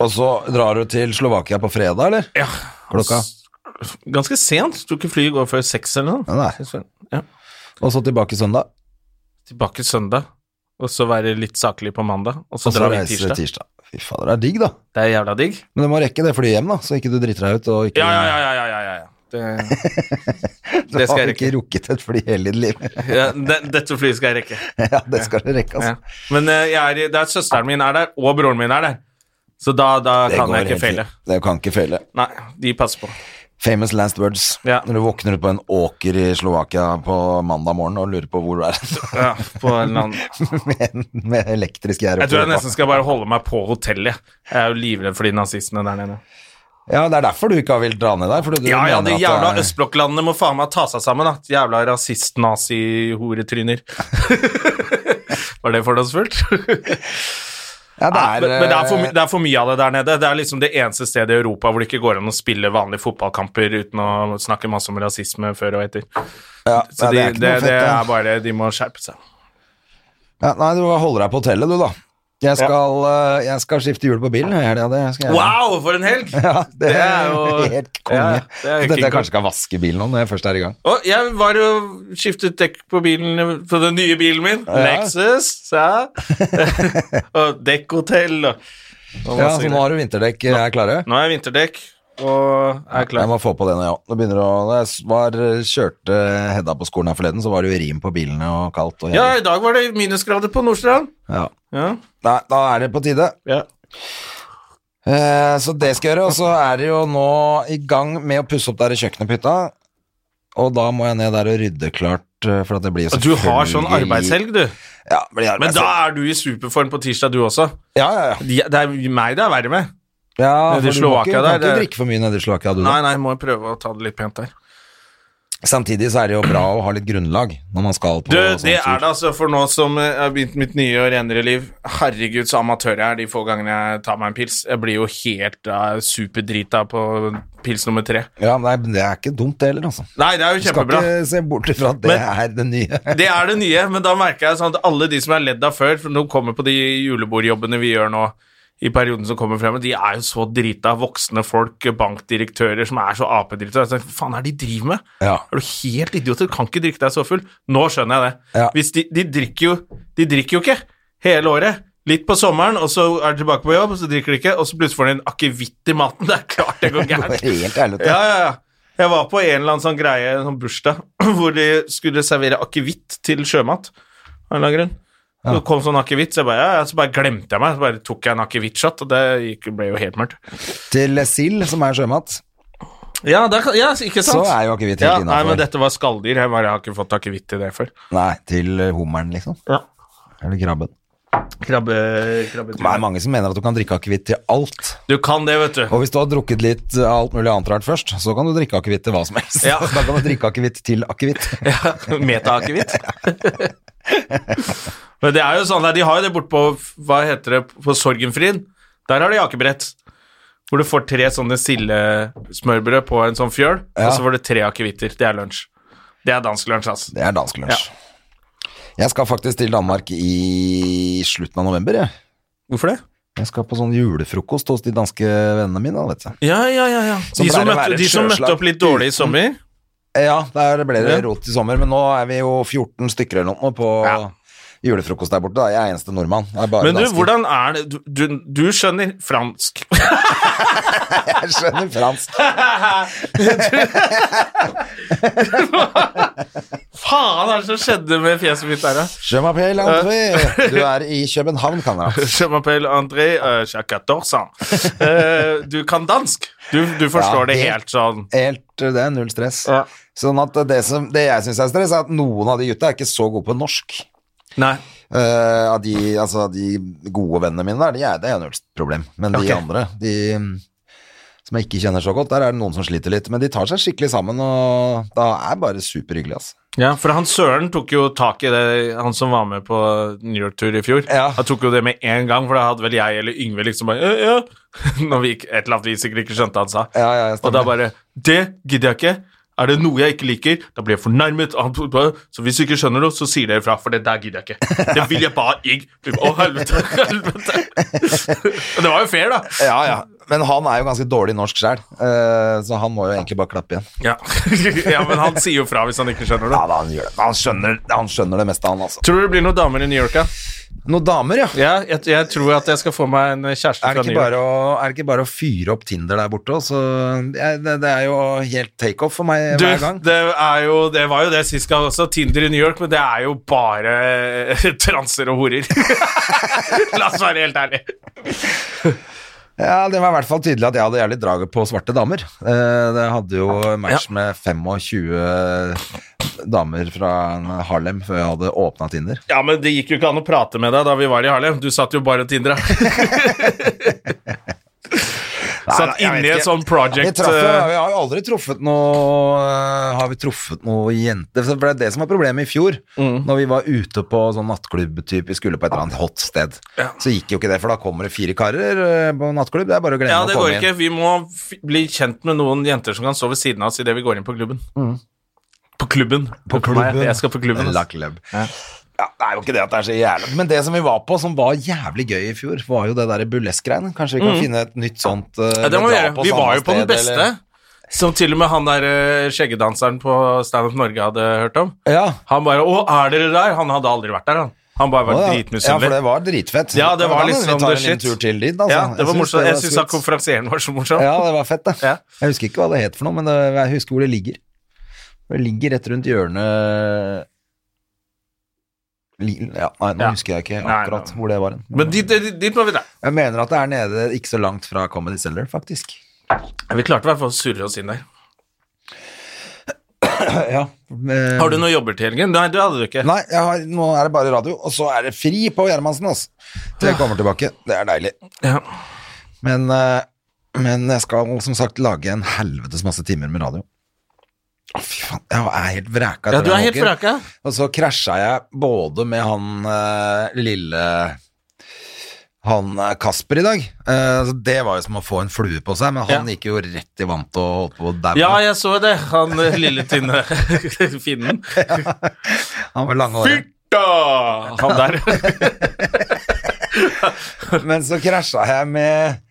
S2: Og så drar du til Slovakia på fredag, eller?
S1: Ja.
S2: Klokka?
S1: Ganske sent. Tror ikke flyet går før seks eller noe.
S2: Ja, nei.
S1: Ja.
S2: Og så tilbake søndag,
S1: Tilbake søndag, og så være litt saklig på mandag, og
S2: og
S1: så,
S2: så
S1: drar vi
S2: reiser du
S1: tirsdag.
S2: tirsdag. Fy fader, det er digg, da.
S1: Det er jævla digg.
S2: Men du må rekke det flyet hjem, da, så ikke du driter deg ut. Og ikke,
S1: Ja, ja, ja, ja, ja, ja, ja, ja. Det, det
S2: har
S1: skal jeg
S2: ikke
S1: rekke.
S2: rukket et fly hele ditt liv.
S1: Ja, det, dette flyet skal jeg rekke.
S2: ja, det skal du rekke, altså.
S1: Ja. Men eh, jeg er, i- det er søsteren min er der, og broren min er der. Så da, da
S2: Det
S1: kan
S2: går
S1: jeg ikke
S2: helt
S1: feile.
S2: fint. Det kan ikke feile.
S1: Nei, de passer på.
S2: Famous last words.
S1: Ja.
S2: Når du våkner ut på en åker i Slovakia på mandag morgen og lurer på hvor du er
S1: Ja, på en eller annen.
S2: med, med elektrisk gjerde.
S1: Jeg tror jeg nesten skal bare holde meg på hotellet. Jeg er jo livredd for de nazistene der nede.
S2: Ja, det er derfor du ikke har villet dra ned der. Fordi du
S1: Ja, ja,
S2: mener
S1: de
S2: at
S1: jævla
S2: det er-
S1: østblokklandene må faen meg ta seg sammen, da. Jævla rasist-nazi-horetryner. Var det fordomsfullt?
S2: ja, det
S1: Nei,
S2: er, eh,
S1: men, men det, er for, my- det er for mye av det der nede. Det er liksom det eneste stedet i Europa hvor det ikke går an å spille vanlige fotballkamper uten å snakke masse om rasisme før og etter.
S2: ja, ja,
S1: Så de,
S2: det er
S1: det,
S2: ikke
S1: det,
S2: noe fett.
S1: er
S2: ja.
S1: bare De må skjerpe seg.
S2: Ja, nei, du holder deg på hotellet, du, da. Jeg skal, eh, jeg skal skifte hjul på bilen. Ja, det, det skal jeg.
S1: Wow, for en helg!
S2: Ja, det,
S1: Det er
S2: er
S1: jo-
S2: helt konge.
S1: Ja, det er
S2: Så
S1: jo
S2: Dette
S1: king
S2: jeg kanskje skal vaske bilen nå når jeg først er i gang.
S1: Og jeg var jo skiftet dekk på bilen På den nye bilen min,
S2: Ja.
S1: Lexus. Ja. og dekkhotell og, og
S2: Ja,
S1: masse
S2: så nå
S1: greier.
S2: har du vinterdekk. Jeg er klare.
S1: Nå er jeg vinterdekk og er
S2: Jeg
S1: klar.
S2: må få på det nå, ja. Nå begynner det å, da jeg s- var, kjørte Hedda på skolen her forleden, så var det jo rim på bilene og kaldt. Og
S1: Ja,
S2: jævlig.
S1: i dag var det minusgrader på Nordstrand.
S2: ja.
S1: Ja.
S2: Nei, da er det på tide.
S1: ja.
S2: Eh, så det skal jeg gjøre, og så er det jo nå i gang med å pusse opp der i kjøkkenet på hytta. Og da må jeg ned der og rydde klart, eh, for at det blir jo
S1: Du har sånn
S2: selvfølgelig-
S1: arbeidshelg, du.
S2: Ja, det blir
S1: Men
S2: arbeidshelg.
S1: da er du i superform på tirsdag, du også.
S2: Ja, ja, ja.
S1: De- Det er meg det er verre med.
S2: ja for du
S1: Nede i
S2: må
S1: Slovakia
S2: ikke, du
S1: der,
S2: kan ikke
S1: det-
S2: drikke for mye nede i Slovakia, du da.
S1: Nei, nei, må jeg prøve å ta det litt pent der.
S2: Samtidig så er det jo bra å ha litt grunnlag når man skal på
S1: Du,
S2: sånn
S1: det er
S2: tur.
S1: det altså for nå som eh, jeg har begynt mitt nye og renere liv. Herregud, så amatør jeg er de få gangene jeg tar meg en pils. Jeg blir jo helt eh, superdrita på pils nummer tre.
S2: Ja, nei, men det er ikke dumt det heller, altså.
S1: Nei, det er jo
S2: Du skal
S1: kjempebra.
S2: ikke se bort ifra at det
S1: Men-
S2: er det nye.
S1: Det er det nye, men da merker jeg sånn at alle de som er ledd av før, for de kommer på de julebordjobbene vi gjør nå i perioden som kommer frem, de er jo så drita. Voksne folk, bankdirektører som er så apedrita. Jeg tenker, Hva faen er det de driver med?
S2: Ja.
S1: Er du helt idioter? Du kan ikke drikke deg så full. Nå skjønner jeg det.
S2: Ja.
S1: Hvis de, de, drikker jo, de drikker jo ikke hele året. Litt på sommeren, og så er de tilbake på jobb, og så drikker de ikke, og så plutselig får de en akevitt i maten. Det er klart det går
S2: Det
S1: gærent.
S2: er helt ærlig.
S1: Ja, ja, ja. Jeg var på en eller annen sånn greie, en sånn bursdag, hvor de skulle servere akevitt til sjømat. Av en eller annen grunn. Så kom sånn akevitt, så jeg bare, ja, ja, så bare glemte jeg meg. Så bare tok jeg en akevittshot, og det gikk, ble jo helt mørkt.
S2: Til sild, som er sjømat,
S1: Ja, der, kan- ja ikke sant?
S2: så er jo akevitt
S1: ja,
S2: helt
S1: nei, men
S2: innafor.
S1: dette var skalldyr. Jeg bare jeg har ikke fått akevitt til det før.
S2: Nei, til hummeren, liksom.
S1: Ja.
S2: Eller krabben.
S1: Krabbe,
S2: Det er mange som mener at du kan drikke akevitt til alt.
S1: Du kan det, vet du.
S2: Og hvis du har drukket litt av alt mulig annet rart først, så kan du drikke akevitt til hva som helst.
S1: Ja.
S2: Da kan du drikke akevitt til akevitt.
S1: Ja, Meta-akevitt. Men det er jo sånn der, de har jo det borte på Hva heter det, på Sorgenfrien? Der har de akebrett. Hvor du får tre sånne sildesmørbrød på en sånn fjøl,
S2: Ja.
S1: og så får du tre akevitter. Det er lunsj. Det er dansk lunsj, altså.
S2: Det er dansk lunsj. Jeg skal faktisk til Danmark i slutten av november, jeg.
S1: Hvorfor det?
S2: Jeg skal på sånn julefrokost hos de danske vennene mine, da, vet du.
S1: Ja, ja, ja. ja.
S2: Som
S1: de som,
S2: pleier å være et
S1: møtte, de som møtte
S2: sjøslag
S1: opp litt dårlig i sommer.
S2: Ja, der ble det
S1: Ja.
S2: rot i sommer, men nå er vi jo 14 stykker eller noe på
S1: Ja.
S2: julefrokost der borte. Da. Jeg er eneste nordmann. Jeg er bare
S1: Men du,
S2: dansker.
S1: hvordan er det Du, du, du skjønner fransk.
S2: Jeg skjønner fransk.
S1: Faen, hva er det som skjedde med fjeset mitt der, da?
S2: Je m'appelle André. Du er i København, kamerat.
S1: Je m'appelle André uh, Euh, du kan dansk. Du, du forstår
S2: Ja,
S1: det
S2: helt.
S1: helt sånn.
S2: Helt, eh, det er null stress.
S1: Ja.
S2: Sånn at det, som, det jeg syns er stress, er at noen av de gutta er ikke så gode på norsk.
S1: Nei.
S2: Eh, av de, altså, de gode vennene mine der, de er, det er jo null problem. Men de
S1: Ok.
S2: andre, de mm, som jeg ikke kjenner så godt, der er det noen som sliter litt. Men de tar seg skikkelig sammen, og da er bare superhyggelig, altså.
S1: Ja, for han Søren tok jo tak i det, han som var med på New York-tur i fjor.
S2: Ja.
S1: Han tok jo det med en gang, for da hadde vel jeg eller Yngve liksom bare «Ja, ja. Når vi gikk, et eller annet vi sikkert ikke skjønte han sa.
S2: Ja, ja,
S1: Og da bare Det gidder jeg ikke. Er det noe jeg ikke liker, da blir jeg fornærmet. Og han bare, Så hvis du ikke skjønner noe, så sier dere ifra, for det der gidder jeg ikke. Det vil jeg bare ikke. Å, helvete. helvete. Og det var jo fair, da.
S2: Ja, ja. Men han er jo ganske dårlig i norsk sjæl, så han må jo egentlig bare klappe igjen.
S1: Ja. ja, men han sier jo fra hvis han ikke skjønner det.
S2: da, han, gjør det. Han, skjønner, han skjønner det meste, han, altså.
S1: Tror du det blir noen damer i New York, ja?
S2: Noen damer, ja.
S1: Ja, jeg, jeg tror at jeg skal få meg en kjæreste
S2: Er
S1: fra
S2: det,
S1: New
S2: ikke
S1: York.
S2: bare å, er det ikke bare å fyre opp Tinder der borte? og så- jeg- det, det er jo helt takeoff for meg
S1: Du,
S2: hver gang.
S1: det, er jo, det var jo det sist gang også, Tinder i New York, men det er jo bare transer og horer. La oss være helt ærlige.
S2: Ja, Det var i hvert fall tydelig at jeg hadde jævlig draget på svarte damer. Eh, Det hadde jo match med 25 damer fra Harlem før jeg hadde åpna Tinder.
S1: Ja, men det gikk jo ikke an å prate med deg da vi var i Harlem. Du satt jo bare og tindra.
S2: Nei,
S1: satt
S2: jeg vet
S1: inni et
S2: ikke.
S1: sånn project.
S2: Vi, traff, jo-
S1: eh,
S2: vi har jo aldri truffet noe eh, Har vi truffet noe jente For det er det som var problemet i fjor
S1: Mm.
S2: Når vi var ute på sånn nattklubb typ, Vi skulle på et eller annet hot sted
S1: Ja.
S2: Så gikk jo ikke det, for da kommer det fire karer eh, På nattklubb, det er bare å glemme
S1: ja,
S2: å
S1: det
S2: komme
S1: går
S2: inn
S1: ikke. Vi må f bli kjent med noen jenter som kan stå ved siden av oss idet vi går inn på klubben. På klubben.
S2: Mm. På
S1: Nei,
S2: klubben.
S1: Jeg skal på klubben. altså.
S2: La
S1: ass.
S2: klubb. ja, det er jo ikke det at det er så jævlig Men det som vi var på, som var jævlig gøy i fjor, var jo det derre burlesk-greiene. Kanskje vi kan finne et nytt sånt eh,
S1: Mm. Ja, det må vi
S2: dra
S1: gjøre. Vi
S2: samme
S1: var jo på den
S2: sted,
S1: beste.
S2: eller-
S1: Som til og med han der eh, skjeggedanseren på Stand Up Norge hadde hørt om.
S2: Ja.
S1: Han bare 'Å, er dere der?' Han hadde aldri vært der, han. Han bare
S2: Å, ja.
S1: var
S2: Ja, for det
S1: dritmisunnelig.
S2: var sånn. dritfett.
S1: Ja, det
S2: da
S1: var
S2: må
S1: liksom
S2: Vi tar
S1: the
S2: en liten
S1: shit.
S2: tur til dit, altså.
S1: Ja, det var
S2: syns
S1: morsomt. Jeg syns
S2: skutt.
S1: at konferansieren var så morsom.
S2: Ja, det var fett, det.
S1: Ja.
S2: Jeg husker ikke hva det het for noe, men det, jeg husker hvor det ligger. Det ligger rett rundt hjørnet Li- Ja, nei, nå
S1: Ja.
S2: husker jeg ikke
S1: nei.
S2: akkurat hvor det var. hen.
S1: Men dit, dit, dit må vi da.
S2: Jeg mener at det er nede ikke så langt fra Comedy Cellar, faktisk.
S1: Vi klarte i hvert fall å surre oss inn der.
S2: Ja. men-
S1: Har du noen jobber til helgen? Nei, det hadde du ikke.
S2: Eh, Nei, jeg har, nå er det bare radio, og så er det fri på Gjermansen, altså. Til jeg kommer tilbake. Det er deilig.
S1: Ja.
S2: Men, eh, men jeg skal som sagt lage en helvetes masse timer med radio. Å, fy faen. Jeg er helt vraka.
S1: Ja,
S2: etter
S1: du er
S2: den
S1: helt
S2: åken.
S1: vraka.
S2: Og så krasja jeg både med han eh, lille han eh, Kasper i dag. Eh, så det var jo som å få en flue på seg, men han
S1: Ja.
S2: gikk jo rett i vannet og holdt på å daue.
S1: Ja, jeg så det. Han eh, lille, tynne finnen.
S2: Han var lange året.
S1: Fyrta! Han der.
S2: Men så krasja jeg med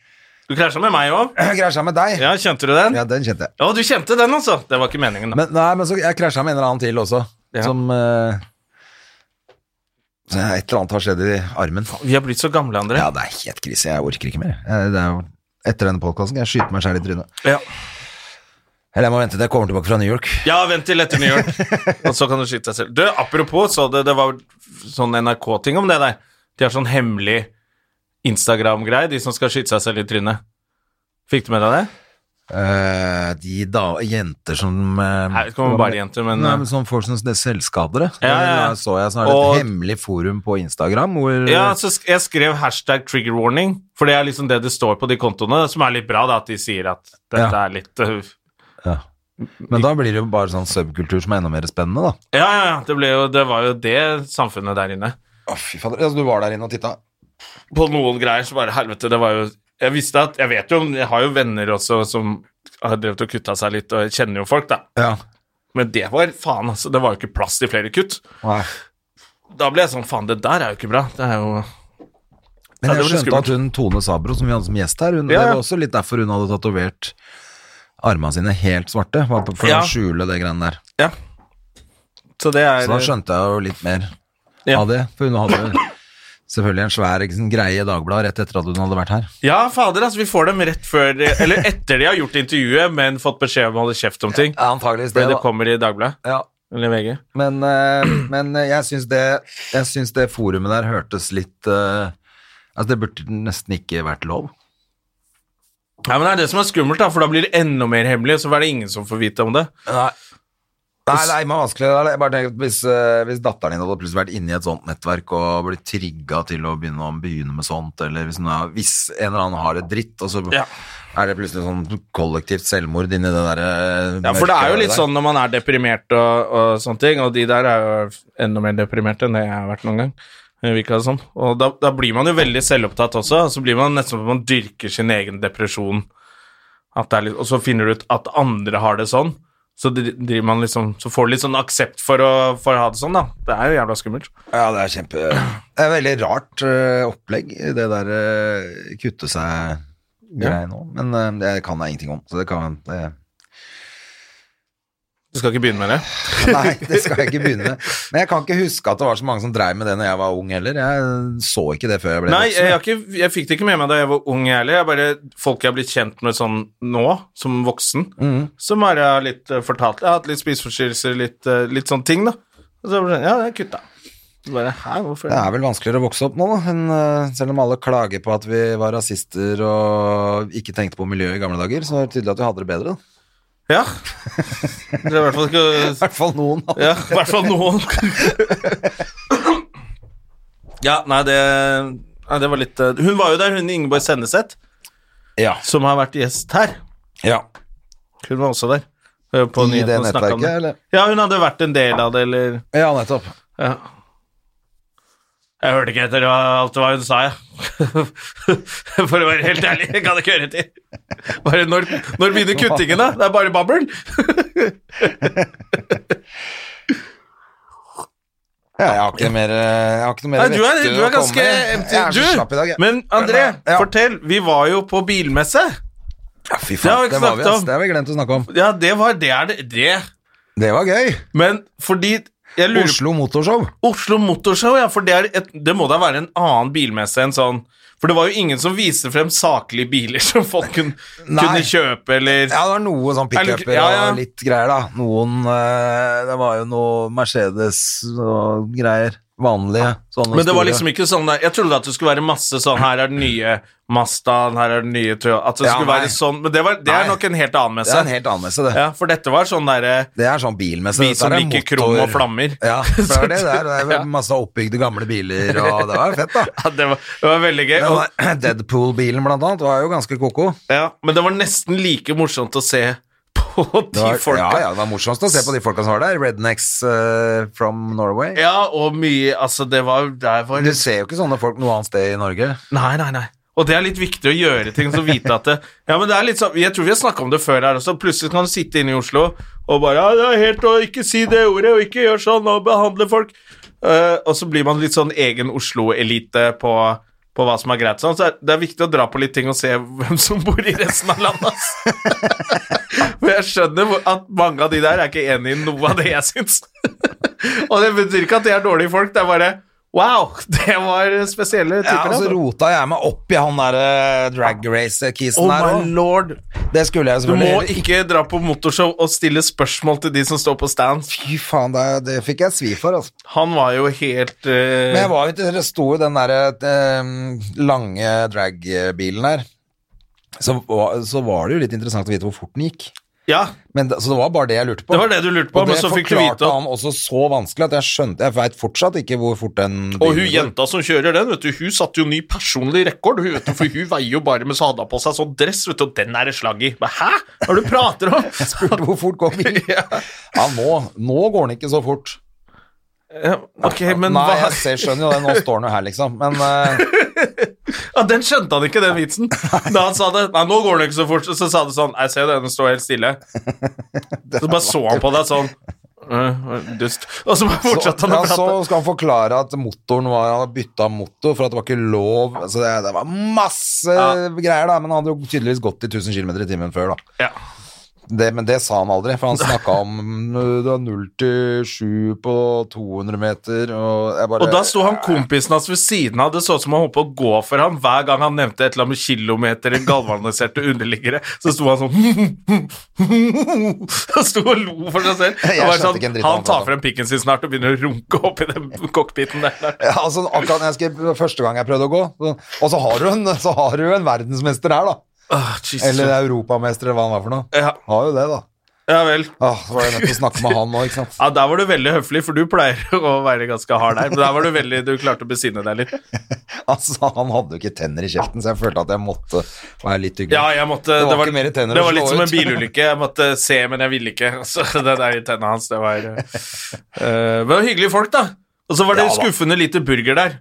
S1: Du krasja med meg òg.
S2: Krasja med deg.
S1: Ja, kjente du den?
S2: Ja, den kjente jeg.
S1: Å, du kjente den, altså. Det var ikke meningen, da.
S2: Men, nei, men så jeg krasja med en eller annen til også,
S1: Ja.
S2: som eh, så Et eller annet har skjedd i armen.
S1: Vi har blitt så gamle, André.
S2: Ja, det er helt krise. Jeg orker ikke mer. Jeg- Det er jo, etter denne podkasten kan jeg skyte meg sjæl i trynet.
S1: Ja.
S2: Eller jeg må vente til jeg kommer tilbake fra New York.
S1: Ja, vent til etter New York, og så kan du skyte deg selv. Du, apropos, så det, det var sånn NRK-ting om det der. De har sånn hemmelig Instagram-greie, de som skal skyte seg selv i trynet. Fikk du med deg det?
S2: Eh, de da, jenter som eh,
S1: Nei, det kommer bare jenter, men, eh.
S2: Nei, men Sånn folk som det er selvskadere.
S1: Ja, ja, ja.
S2: Da så jeg sånn her,
S1: Og-
S2: et hemmelig forum på Instagram hvor
S1: Ja, så sk jeg skrev hashtag trigger warning, for det er liksom det det står på de kontoene, som er litt bra, da, at de sier at dette
S2: Ja.
S1: er litt øh,
S2: Ja. Men da blir det jo bare sånn subkultur som er enda mer spennende, da.
S1: Ja, ja, ja, det, ble jo, det var jo det samfunnet der inne.
S2: Å, fy fader. Altså, du var der inne og titta?
S1: på noen greier så bare helvete, det var jo Jeg visste at Jeg vet jo, jeg har jo venner også som har drevet og kutta seg litt, og jeg kjenner jo folk, da.
S2: Ja.
S1: Men det var faen, altså. Det var jo ikke plass til flere kutt.
S2: Nei.
S1: Da ble jeg sånn faen, det der er jo ikke bra. Det er jo
S2: Men
S1: Ja, det
S2: jeg
S1: var litt
S2: skjønte at hun Tone Sabro, som vi hadde som gjest her, hun,
S1: Ja,
S2: det
S1: ja.
S2: var også litt derfor hun hadde tatovert armene sine helt svarte, var på- for
S1: Ja.
S2: å skjule det greiene der.
S1: Ja. Så det er
S2: Så da skjønte jeg jo litt mer
S1: Ja.
S2: av det, for hun hadde jo selvfølgelig en svær ikke sant, greie i Dagbladet rett etter at hun hadde vært her.
S1: Ja, fader, altså. Vi får dem rett før de, Eller etter de har gjort intervjuet, men fått beskjed om å holde kjeft om ting.
S2: Antageligvis
S1: Fordi det kommer i Dagbladet
S2: Ja.
S1: eller VG.
S2: Men, eh, men jeg syns det, jeg syns det forumet der hørtes litt eh, Altså, det burde nesten ikke vært lov.
S1: Ja, men det er det som er skummelt, da, for da blir det enda mer hemmelig, og så er det ingen som får vite om det.
S2: Nei. Nei, nei, men vanskelig Jeg bare tenker at hvis, eh, hvis datteren din hadde plutselig vært inne i et sånt nettverk og blitt trigga til å begynne, å begynne med sånt, eller hvis, hun har, hvis en eller annen har det dritt, og så
S1: Ja.
S2: er det plutselig sånn kollektivt selvmord inni det eh, derre
S1: Ja, for det er jo litt sånn når man er deprimert og, og sånne ting, og de der er jo enda mer deprimerte enn det jeg har vært noen gang. eh, Det virker det som. Og da, da blir man jo veldig selvopptatt også, og så blir man nesten som om man dyrker sin egen depresjon. At det er litt, og så finner du ut at andre har det sånn, så, dri- driver man liksom, så får du litt sånn aksept for å, for å ha det sånn, da. Det er jo jævla skummelt.
S2: Ja, det er kjempe Det er veldig rart eh, opplegg, det der eh, kutte seg-greia nå. Men eh, det kan jeg ingenting om, så det kan eh, det,
S1: Du skal ikke begynne med det?
S2: Nei, det skal jeg ikke begynne med. Men jeg kan ikke huske at det var så mange som dreiv med det når jeg var ung heller. Jeg så ikke det før jeg ble
S1: Nei,
S2: voksen.
S1: jeg, har ikke, jeg fikk det ikke med meg da jeg var ung, jeg heller. Jeg bare, folk jeg har blitt kjent med sånn nå, som voksen,
S2: Mm.
S1: som bare har litt eh, fortalt Jeg har hatt litt spiseforstyrrelser, litt, eh, litt sånne ting, da. Og så var det sånn, ja, det er kutta. Så bare, hæ, hvorfor
S2: Det er vel vanskeligere å vokse opp nå, da, enn, eh, selv om alle klager på at vi var rasister og ikke tenkte på miljøet i gamle dager, så er det tydelig at vi hadde det bedre. Da.
S1: Ja. Det er i hvert fall
S2: I
S1: ikke
S2: hvert fall noen. hadde-
S1: Ja, i hvert fall noen. Ja, nei, det Nei, det var litt eh, Hun var jo der, hun Ingeborg Senneseth,
S2: Ja.
S1: som har vært gjest her.
S2: ja.
S1: Hun var også der. eh, På
S2: I det
S1: nyhetene og snakket om
S2: nettverket, eller?
S1: Ja, hun hadde vært en del av det, eller
S2: Ja, nettopp.
S1: Ja. Jeg hørte ikke etter hva- alt hva hun sa, jeg. For å være helt ærlig, jeg kan ikke høre etter. Bare når, når begynner kuttingen, da? Det er bare babbel.
S2: Ja, jeg har ikke mer Jeg har ikke noe mer
S1: Nei, du er,
S2: vett til
S1: du
S2: å
S1: er ganske
S2: komme med. Jeg
S1: empty.
S2: er så slapp i dag,
S1: Du,
S2: jeg.
S1: men André,
S2: ja.
S1: fortell. Vi var jo på bilmesse.
S2: ja, Fy
S1: Det har vi
S2: faen, det var vi,
S1: ikke snakket
S2: ass.
S1: om.
S2: Det har vi glemt å snakke om.
S1: Ja, det var det. er det, det.
S2: Det var gøy.
S1: Men fordi jeg lurer
S2: Oslo Motorshow.
S1: Oslo Motorshow, ja, for det, er et, det må da være en annen bilmesse enn sånn For det var jo ingen som viste frem saklige biler som folk kun,
S2: Nei.
S1: kunne kjøpe, eller
S2: Ja, det var noe sånn
S1: Er det
S2: pickuper
S1: ikke- ja, ja.
S2: og litt greier, da. Noen eh, Det var jo noe Mercedes og greier. Vanlige. Sånne
S1: Men det var
S2: store.
S1: liksom ikke sånn der Jeg trodde at det skulle være masse sånn Her er den nye Mazdaen, her er den nye Toyota At det
S2: Ja,
S1: skulle
S2: nei.
S1: være sånn Men det, var, det
S2: Nei.
S1: er nok en helt
S2: Det
S1: annen messe.
S2: er en helt annen messe, det.
S1: ja, for dette var sånn derre
S2: Det er sånn bilmesse.
S1: Vi
S2: dette
S1: som
S2: er
S1: liker
S2: motor-
S1: krom og flammer.
S2: Ja, for det er det der. Det er masse oppbygde gamle biler, og det var jo fett, da.
S1: ja, det, var, det var veldig gøy.
S2: Den
S1: Og,
S2: der Deadpool-bilen, blant annet, var jo ganske koko.
S1: ja, men det var nesten like morsomt å se på
S2: Det
S1: de
S2: var, ja,
S1: folka.
S2: ja, det var morsomst å se på de folka som var der. Rednecks eh, from Norway.
S1: Ja, og mye Altså, det var Der var
S2: Du ser jo ikke sånne folk noe annet sted i Norge.
S1: Nei, nei, nei. Og det er litt viktig å gjøre ting, så vite at det, Ja, men det er litt sånn Jeg tror vi har snakka om det før her også. Plutselig kan du sitte inne i Oslo og bare Ja, det er helt å ikke si det ordet, og ikke gjør sånn, og behandle folk Eh, Og så blir man litt sånn egen Oslo-elite på, på hva som er greit. Sånn. Så er- det er viktig å dra på litt ting og se hvem som bor i resten av landet, ass. For jeg skjønner hvor- at mange av de der er ikke enig i noe av det jeg syns. og det betyr ikke at de er dårlige folk, det er bare Wow, det var spesielle typer.
S2: Ja, og så
S1: altså.
S2: rota jeg meg opp i han der eh, drag race-kisen
S1: Oh
S2: her
S1: my
S2: også.
S1: lord.
S2: Det skulle jeg
S1: Du
S2: selvfølgelig
S1: må ikke dra på motorshow og stille spørsmål til de som står på stand.
S2: Fy faen, det, det fikk jeg svi for, altså.
S1: Han var jo helt eh,
S2: Men jeg var jo til Det sto jo den der eh, lange drag-bilen her. Så, var- så var det jo litt interessant å vite hvor fort den gikk.
S1: Ja,
S2: Men, det- så det var bare det jeg lurte på.
S1: Det var det du lurte på,
S2: og
S1: men
S2: det
S1: så fikk du vite
S2: forklarte
S1: at-
S2: han også så vanskelig at jeg skjønte Jeg veit fortsatt ikke hvor fort den
S1: og hun
S2: bilen går.
S1: jenta som kjører den, vet du, hun satte jo ny personlig rekord, hun, vet du, for hun veier jo bare mens hun hadde på seg sånn dress, vet du, og den er det slag i. Hva, Hæ? Hva er det du prater om?
S2: Spurte hvor fort går bilen. ja. nå, nå går den ikke så fort.
S1: Ja, ok, men
S2: Nei,
S1: hva
S2: jeg ser, skjønner jo det, nå står den jo her, liksom. Men eh,
S1: ja, Den skjønte han ikke, den vitsen. Da han sa det Nei, nå går det ikke så fort, så sa det sånn Jeg ser det, den står helt stille. Så bare så han på deg sånn «Øh, Dust. Og så bare
S2: så,
S1: fortsatte han
S2: ja,
S1: å
S2: så
S1: prate.
S2: skal han forklare at motoren var Han hadde bytta motor for at det var ikke lov. Så det, det var masse
S1: Ja.
S2: greier, da. Men han hadde jo tydeligvis gått i 1000 km i timen før, da.
S1: Ja.
S2: Det, men det sa han aldri, for han snakka om øh, det var 0 til 7 på 200 meter, og jeg bare
S1: Og da sto han kompisen hans ved siden av. Det så ut som han holdt på å gå for ham hver gang han nevnte et eller annet med kilometer i galvaniserte underliggere. Så sto han sånn Han sto og lo for seg selv.
S2: Jeg
S1: Det var
S2: skjønte
S1: sånn,
S2: ikke en dritt av hva
S1: han
S2: han
S1: tar
S2: pratet om.
S1: frem pikken sin snart og begynner å runke opp i den cockpiten der.
S2: ja, altså, akkurat når jeg skulle, Første gang jeg prøvde å gå, så, og så har, du en, så har du en verdensmester her, da.
S1: Åh, Ah, Jesus.
S2: Eller europamester, eller hva han var for noe.
S1: ja,
S2: Har jo det, da.
S1: ja vel.
S2: Åh, så var jeg nødt til å snakke med han nå, ikke sant.
S1: Ja, Der var du veldig høflig, for du pleier å være ganske hard der. Men der var du veldig, du klarte å besinne deg litt.
S2: Altså, Han hadde jo ikke tenner i kjeften, så jeg følte at jeg måtte være litt hyggelig.
S1: Ja, jeg måtte,
S2: Det
S1: det,
S2: var
S1: var,
S2: ikke mer tenner
S1: det
S2: å
S1: var litt
S2: slå
S1: som en
S2: ut.
S1: bilulykke. Jeg måtte se, men jeg ville ikke. Så det der i tennene hans, det var eh, eh, Men det var hyggelige folk, da. Og så var det
S2: Ja, da.
S1: skuffende lite burger der.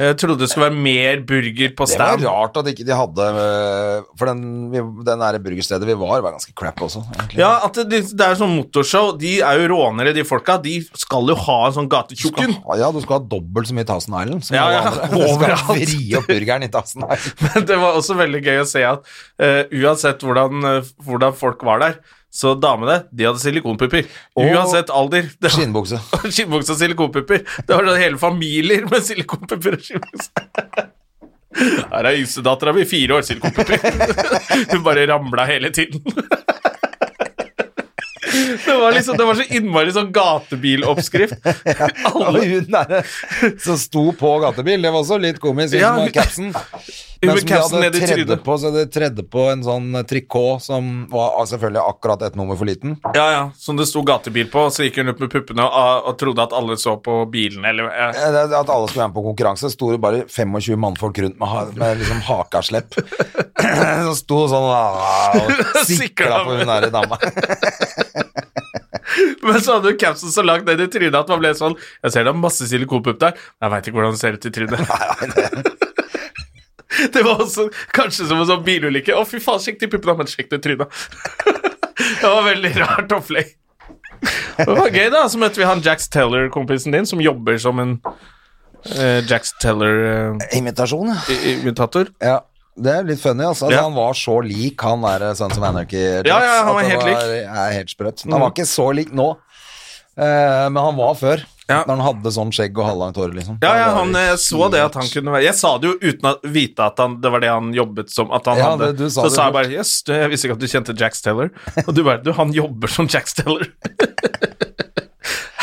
S1: Jeg trodde det skulle være mer burger på
S2: Det var
S1: stand.
S2: rart at ikke de hadde øh, For den, vi, den der burgerstedet vi var, var ganske crap også. egentlig.
S1: Ja, at det, det er sånn motorshow. De er jo rånere, de folka. De skal jo ha en sånn gatetjukken.
S2: Skal- Ja, du skal ha dobbelt så mye Thousand Island som
S1: Ja,
S2: alle
S1: ja,
S2: andre. Du skal
S1: overalt.
S2: vri opp burgeren i Thousand Island.
S1: Men det var også veldig gøy å se at eh, uansett hvordan, eh, hvordan folk var der, så damene, de hadde silikonpupper.
S2: Og
S1: Uansett alder. Det var-
S2: Skinnbukse.
S1: Og skinnbukse og silikonpupper. Det var sånn hele familier med silikonpupper og skinnbukse. Her er yngstedattera mi, fire år, silikonpupper. Hun bare ramla hele tiden. Det var, liksom, det var så innmari sånn gatebiloppskrift.
S2: Og
S1: Alle
S2: hun der som sto på gatebil, det var også litt komisk. Hun
S1: Ja,
S2: som
S1: hun-
S2: har capsen.
S1: med
S2: Men som de
S1: capsen ned i
S2: hadde tredde
S1: trynet.
S2: på, så de tredde på en sånn trikot som var ah, selvfølgelig akkurat ett nummer for liten.
S1: Ja, ja, Som det sto gatebil på, så gikk hun ut med puppene og, og trodde at alle så på bilene, eller ja.
S2: Eh, det- At alle skulle være med på konkurranse, sto det bare 25 mannfolk rundt med, ha- med liksom hakaslepp. Som sto sånn ah, og sikla
S1: Sikla
S2: på hun der dama.
S1: Men så hadde hun capsen så langt ned i trynet at man ble sånn Jeg ser det er masse silikonpupp der, men jeg veit ikke hvordan det ser ut i trynet. det var også kanskje som en sånn bilulykke. Å, fy faen, sjekk de puppene, men sjekk det i trynet. det var veldig rart opplegg. Det var gøy, da. Så møtte vi han Jax Teller-kompisen din, som jobber som en eh, Jax eh,
S2: Imitasjon, ja.
S1: Teller-imitator.
S2: ja. Det er litt funny, altså.
S1: Ja.
S2: Han var så lik han der sånn som Anarchy Jax.
S1: Ja, ja, han
S2: at
S1: var
S2: det
S1: helt lik. Mm.
S2: er helt sprøtt. Han var ikke så lik nå, eh, men han var før.
S1: Ja.
S2: Når han hadde sånn skjegg og halvlangt hår, liksom.
S1: ja, ja,
S2: var
S1: han
S2: jo
S1: eh, så det at han kunne være Jeg sa det jo uten å vite at han, det var det han jobbet som. At han
S2: Ja,
S1: hadde
S2: det- du sa
S1: Så
S2: det
S1: sa jeg bare Jøss, du, jeg visste ikke at du kjente Jax Teller. Og du bare Du, han jobber som Jax Teller.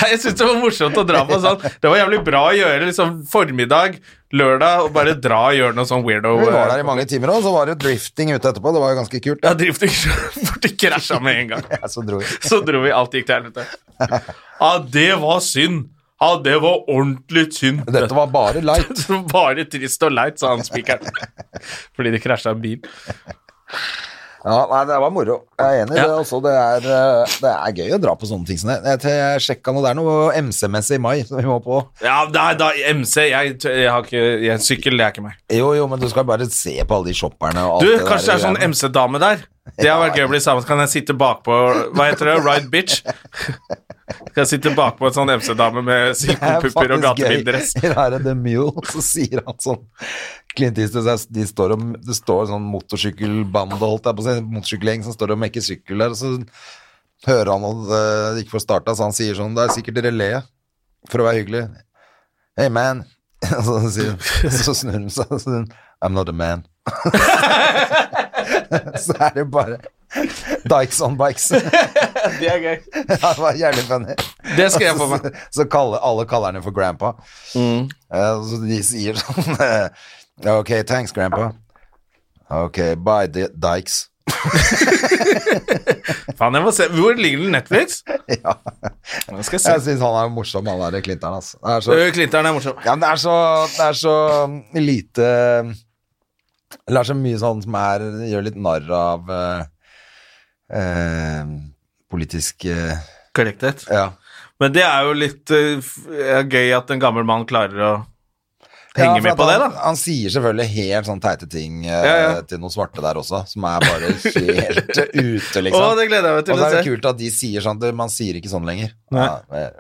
S1: Nei, Jeg syns det var morsomt å dra på sånn. Det var jævlig bra å gjøre liksom formiddag, lørdag, og bare dra og gjøre noe sånn weirdo.
S2: Vi var
S1: eh,
S2: der i mange timer òg, så var det jo drifting ute etterpå. Det var jo ganske kult.
S1: Ja, drifting borti krasja med en gang.
S2: Ja, så dro vi.
S1: Så dro vi, alt gikk til helvete. Ja, det var synd. Ja, det var ordentlig synd.
S2: Dette var bare light.
S1: Bare trist og leit, sa han spikeren. Fordi de krasja en bil.
S2: Ja, nei, det var moro. Jeg er enig i
S1: Ja.
S2: det. Også, det, er, eh, det er gøy å dra på sånne ting som det. Jeg, jeg sjekka noe, det er noe MC-messig i mai som vi må på.
S1: Ja, nei, da, MC, jeg, jeg har ikke jeg, Sykkel, det er ikke meg.
S2: Jo, jo, men du skal bare se på alle de shopperne og alt
S1: Du,
S2: det
S1: kanskje det er sånn MC-dame der? Det hadde vært gøy å bli sammen. Kan jeg sitte bakpå Hva heter det? Ride bitch? Kan jeg sitte bakpå en sånn MC-dame med silkepupper og gatebildress?
S2: Da er det The Mule, så sier han sånn Clint Eastwood, så er- de står og, det står sånn motorsykkelbande, holdt jeg på å si, motorsykkelgjeng som står og mekker sykkel der, og så hører han at eh, det ikke får starta, så han sier sånn Det er sikkert relé, for å være hyggelig. Hey, man. Så, sier, så snur han seg og sier I'm not a man. så er det bare Dykes on bikes.
S1: Det er gøy.
S2: det var jævlig funny.
S1: Det skal jeg få meg.
S2: Så kaller, alle kaller han jo for grandpa. Eh, så de sier sånn eh, Ok, thanks, grandpa. Ok, bye, di- Dykes.
S1: Faen, jeg må se. Hvor ligger den? Netflix? Ja. Skal jeg
S2: Jeg
S1: se.
S2: syns han er morsom, han der Clinteren, altså. Det er så,
S1: Øh, Clinton er morsom.
S2: ja, men det er så, det er så lite Eller det er så mye sånn som er gjør litt narr av eh, eh, politisk eh,
S1: Korrekthet.
S2: Ja.
S1: Men det er jo litt øh, f- eh, gøy at en gammel mann klarer å
S2: Ja,
S1: henge
S2: for
S1: med
S2: at
S1: på det,
S2: han,
S1: da.
S2: Han sier selvfølgelig helt sånn teite ting eh,
S1: Ja, ja.
S2: til noen svarte der også, som er bare helt ute, liksom.
S1: Å, det gleder jeg meg
S2: og
S1: til
S2: så
S1: å
S2: er det
S1: se.
S2: kult at de sier sånn du, Man sier ikke sånn lenger. Ja, ja, ja,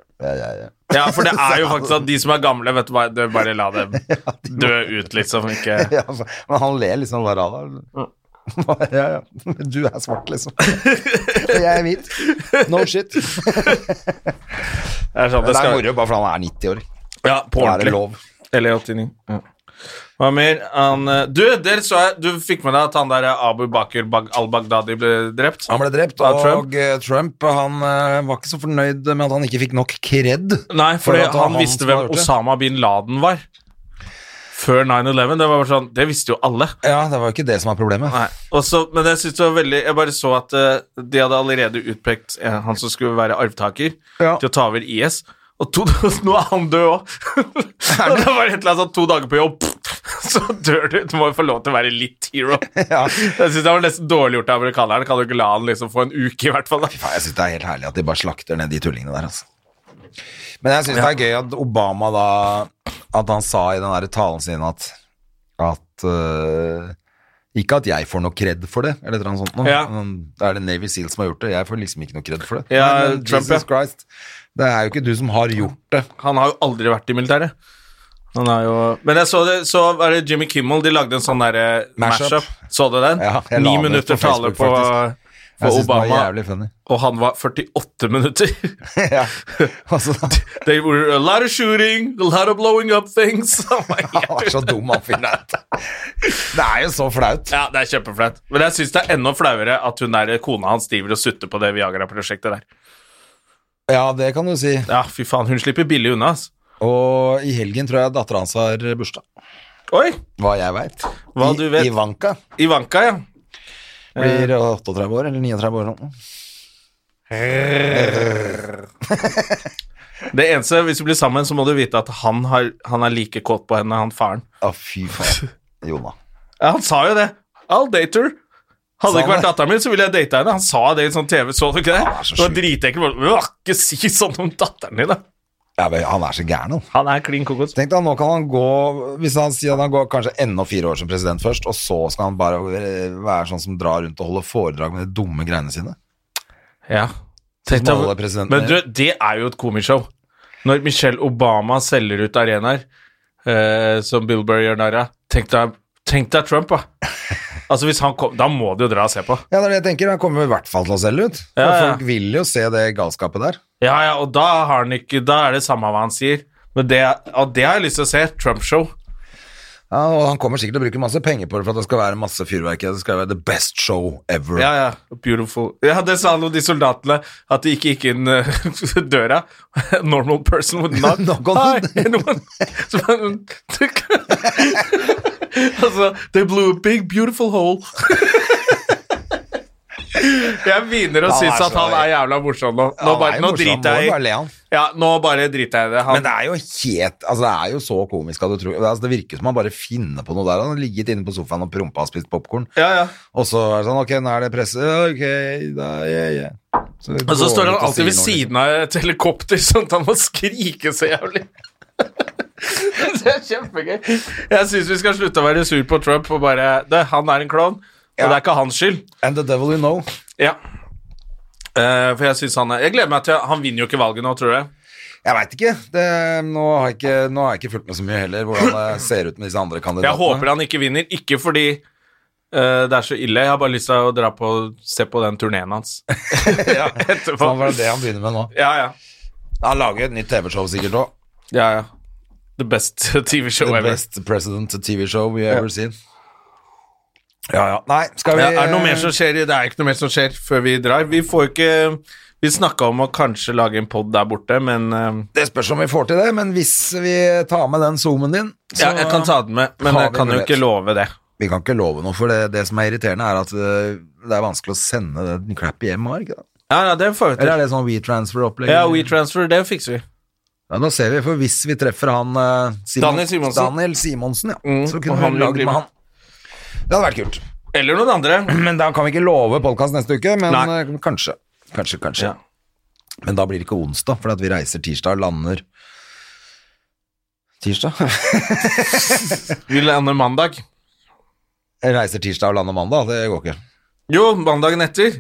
S2: ja, ja.
S1: Ja, for det er jo faktisk at de som er gamle, vet du hva, du bare la dem dø ut, liksom. Ikke
S2: Ja, for- men han ler liksom bare av det. Bare, Ja, ja. Du er svart, liksom. Og jeg er hvit. No shit.
S1: Det er sånn
S2: Men
S1: det
S2: det er
S1: skal
S2: moro bare fordi han er 90 år. Da
S1: Ja, på
S2: er det
S1: ordentlig.
S2: lov.
S1: Eller 89. Ja. Hva mer? Han, eh, du, der så jeg, du fikk med deg at han der eh, Abu Bakr Bag al-Baghdadi ble drept?
S2: Han ble drept, og
S1: Av Trump?
S2: Trump, Trump han eh, var ikke så fornøyd med at han ikke fikk nok kred.
S1: Nei,
S2: for
S1: fordi
S2: at det var
S1: han
S2: han
S1: visste
S2: som hadde
S1: hvem
S2: gjort det.
S1: Osama bin Laden var. Før 9-11. Det var bare sånn, det visste jo alle.
S2: Ja, det var jo ikke det som var problemet.
S1: Nei. Og så- men jeg synes det var veldig Jeg bare så at eh, de hadde allerede utpekt eh, han som skulle være arvtaker,
S2: Ja.
S1: til å ta over IS. Og to, nå er han død òg! det var et eller annet sånn to dager på jobb, så dør du. Du må jo få lov til å være litt hero.
S2: Ja.
S1: Jeg synes det var nesten dårlig gjort av amerikanerne. Kan du ikke la han liksom få en uke, i hvert fall? Da?
S2: Faen, jeg syns det er helt herlig at de bare slakter ned de tullingene der, altså. Men jeg syns det er gøy at Obama da At han sa i den der talen sin at At øh, Ikke at jeg får noe kred for det, eller et eller annet sånt noe.
S1: Ja.
S2: Men Det er det Navy Seals som har gjort det. Jeg får liksom ikke noe kred for det.
S1: Ja,
S2: men, men,
S1: Trump,
S2: Jesus
S1: ja.
S2: Christ. Det er jo ikke du som har gjort det.
S1: Han har jo aldri vært i militæret. Han er jo Men jeg så det, så var det Jimmy Kimmel, de lagde en sånn derre
S2: Mashup.
S1: mashup. Så du den?
S2: Ja, jeg la
S1: Ni
S2: den ut
S1: minutter
S2: på
S1: tale
S2: Facebook,
S1: på,
S2: faktisk.
S1: på
S2: Jeg syns det var
S1: Obama,
S2: jævlig funny.
S1: og han var 48 minutter.
S2: ja. altså,
S1: They were a lot of shooting, a lot of blowing up things. Han var helt-
S2: han var så dum, han fyren der. Det er jo så flaut.
S1: Ja, det er kjempeflaut. Men jeg syns det er enda flauere at hun der, kona hans driver og sutter på det Viagra-prosjektet der.
S2: Ja, det kan du si.
S1: Ja, fy faen, hun slipper billig unna, altså.
S2: Og i helgen tror jeg dattera hans har bursdag.
S1: Oi!
S2: Hva jeg veit.
S1: Hva du vet. Eh.
S2: Ivanka
S1: Ivanka, ja.
S2: blir 38 år, eller 39 år. nå.
S1: Det eneste, hvis du blir sammen, så må du vite at han, har, han er like kåt på henne, han faren.
S2: Å, fy faen. Jona.
S1: Ja, han sa jo det. I'll date her.
S2: Sa
S1: Hadde det ikke
S2: han
S1: vært
S2: det?
S1: datteren min, så ville jeg data henne. Han sa det i sånn TV, så du ikke det?
S2: er så
S1: Det var
S2: sjuk.
S1: dritekkelt. Du kan ikke si sånn om datteren din, da.
S2: Ja, men han er så gæren, han.
S1: Han er klin kokos.
S2: Tenk deg, nå kan han gå Hvis han sier at han går kanskje enda fire år som president først, og så skal han eh, bare være sånn som drar rundt og holder foredrag med de dumme greiene sine.
S1: Ja. Tenk deg-
S2: Smale presidenten.
S1: Men du, det er jo et komishow. Når Michelle Obama selger ut arenaer, eh, som Bill Burr gjør narr av Tenk deg tenk deg Trump, da. Altså, hvis han kom, da må du jo dra og se på.
S2: Ja, det er det jeg tenker. Han kommer i hvert fall til å selge ut. For
S1: Ja, ja.
S2: Folk vil jo se det galskapet der.
S1: Ja, ja, og da, har han ikke, da er det samme hva han sier. Men det, og det har jeg lyst til å se. Trump-show.
S2: Ja, og han kommer sikkert til å bruke masse penger på det for at det skal være masse fyrverkeri. Det skal være the best show ever.
S1: Ja, ja. Beautiful. Ja, det sa han om de soldatene, at de ikke gikk inn eh, døra. Normal person would not.
S2: Knock on the-
S1: Hi, anyone? Så han- altså, they blew a big, beautiful hole. Jeg begynner å
S2: Han
S1: synes
S2: er
S1: at
S2: så-
S1: han er jævla morsom nå. Nå,
S2: Han
S1: bare,
S2: er jo
S1: nå
S2: morsom, må
S1: driter
S2: jo
S1: jeg
S2: bare
S1: i
S2: le av han.
S1: ja, Nå bare driter jeg i det. Han,
S2: Men det er jo helt Altså, det er jo så komisk at du tror altså, Det virker som han bare finner på noe der. Han har ligget inne på sofaen og prompa og spist popkorn.
S1: ja, ja.
S2: Og så er det sånn Ok, nå er det presse. Ok, da yeah, yeah. Så
S1: Og så
S2: går
S1: står
S2: han
S1: han
S2: ut og sier noe,
S1: alltid ved
S2: liksom.
S1: siden av et helikopter, sånn at han må skrike så jævlig. Det er kjempegøy. Jeg syns vi skal slutte å være sur på Trump og bare det, Han er en klovn, og det er ikke hans skyld.
S2: And the devil you know.
S1: Ja. Eh, for jeg syns han er Jeg gleder meg til Han vinner jo ikke valget nå, tror jeg.
S2: Jeg veit ikke. Det, nå, har jeg ikke. nå har jeg ikke fulgt med så mye heller, hvordan det ser ut med disse andre kandidatene.
S1: Jeg håper han ikke vinner, ikke fordi eh, det er så ille. Jeg har bare lyst til å dra på se på den turneen hans. ja, etterpå.
S2: Sånn var det det han begynner med nå.
S1: Ja, ja.
S2: Han lager et nytt TV-show sikkert òg.
S1: ja, ja. The best TV-show
S2: The
S1: ever.
S2: best president TV-show we ever seen. Ja, ja. Nei, skal vi
S1: Ja, er det noe mer som skjer? i- Det er ikke noe mer som skjer før vi drar. Vi får ikke Vi snakka om å kanskje lage en pod der borte, men eh,
S2: Det spørs om vi får til det, men hvis vi tar med den zoomen din så-
S1: ja, Jeg kan ta den med, men
S2: Har
S1: jeg
S2: vi
S1: kan jo
S2: mulighet?
S1: ikke love det.
S2: Vi kan ikke love noe, for det, det som er irriterende, er at øh, det er vanskelig å sende den clappy hjem, har ikke det?
S1: Ja, ja, det får vi
S2: Eller er
S1: til.
S2: det sånn WeTransfer-opplegg?
S1: Ja, WeTransfer, det fikser vi.
S2: Ja, nå ser vi, for hvis vi treffer han eh, Simon,
S1: Daniel Simonsen.
S2: Daniel Simonsen, ja,
S1: Mm,
S2: så
S1: og
S2: kunne han
S1: hun
S2: lagd
S1: blir
S2: med
S1: med.
S2: han. Det hadde vært kult.
S1: Eller noen andre.
S2: Men da kan vi ikke love podkast neste uke, men
S1: Nei.
S2: eh, kanskje. Kanskje, kanskje.
S1: Ja.
S2: Men da blir det ikke onsdag, for at vi reiser tirsdag og lander Tirsdag?
S1: Vi lander mandag.
S2: reiser tirsdag og lander mandag, det går ikke.
S1: Jo, mandagen etter.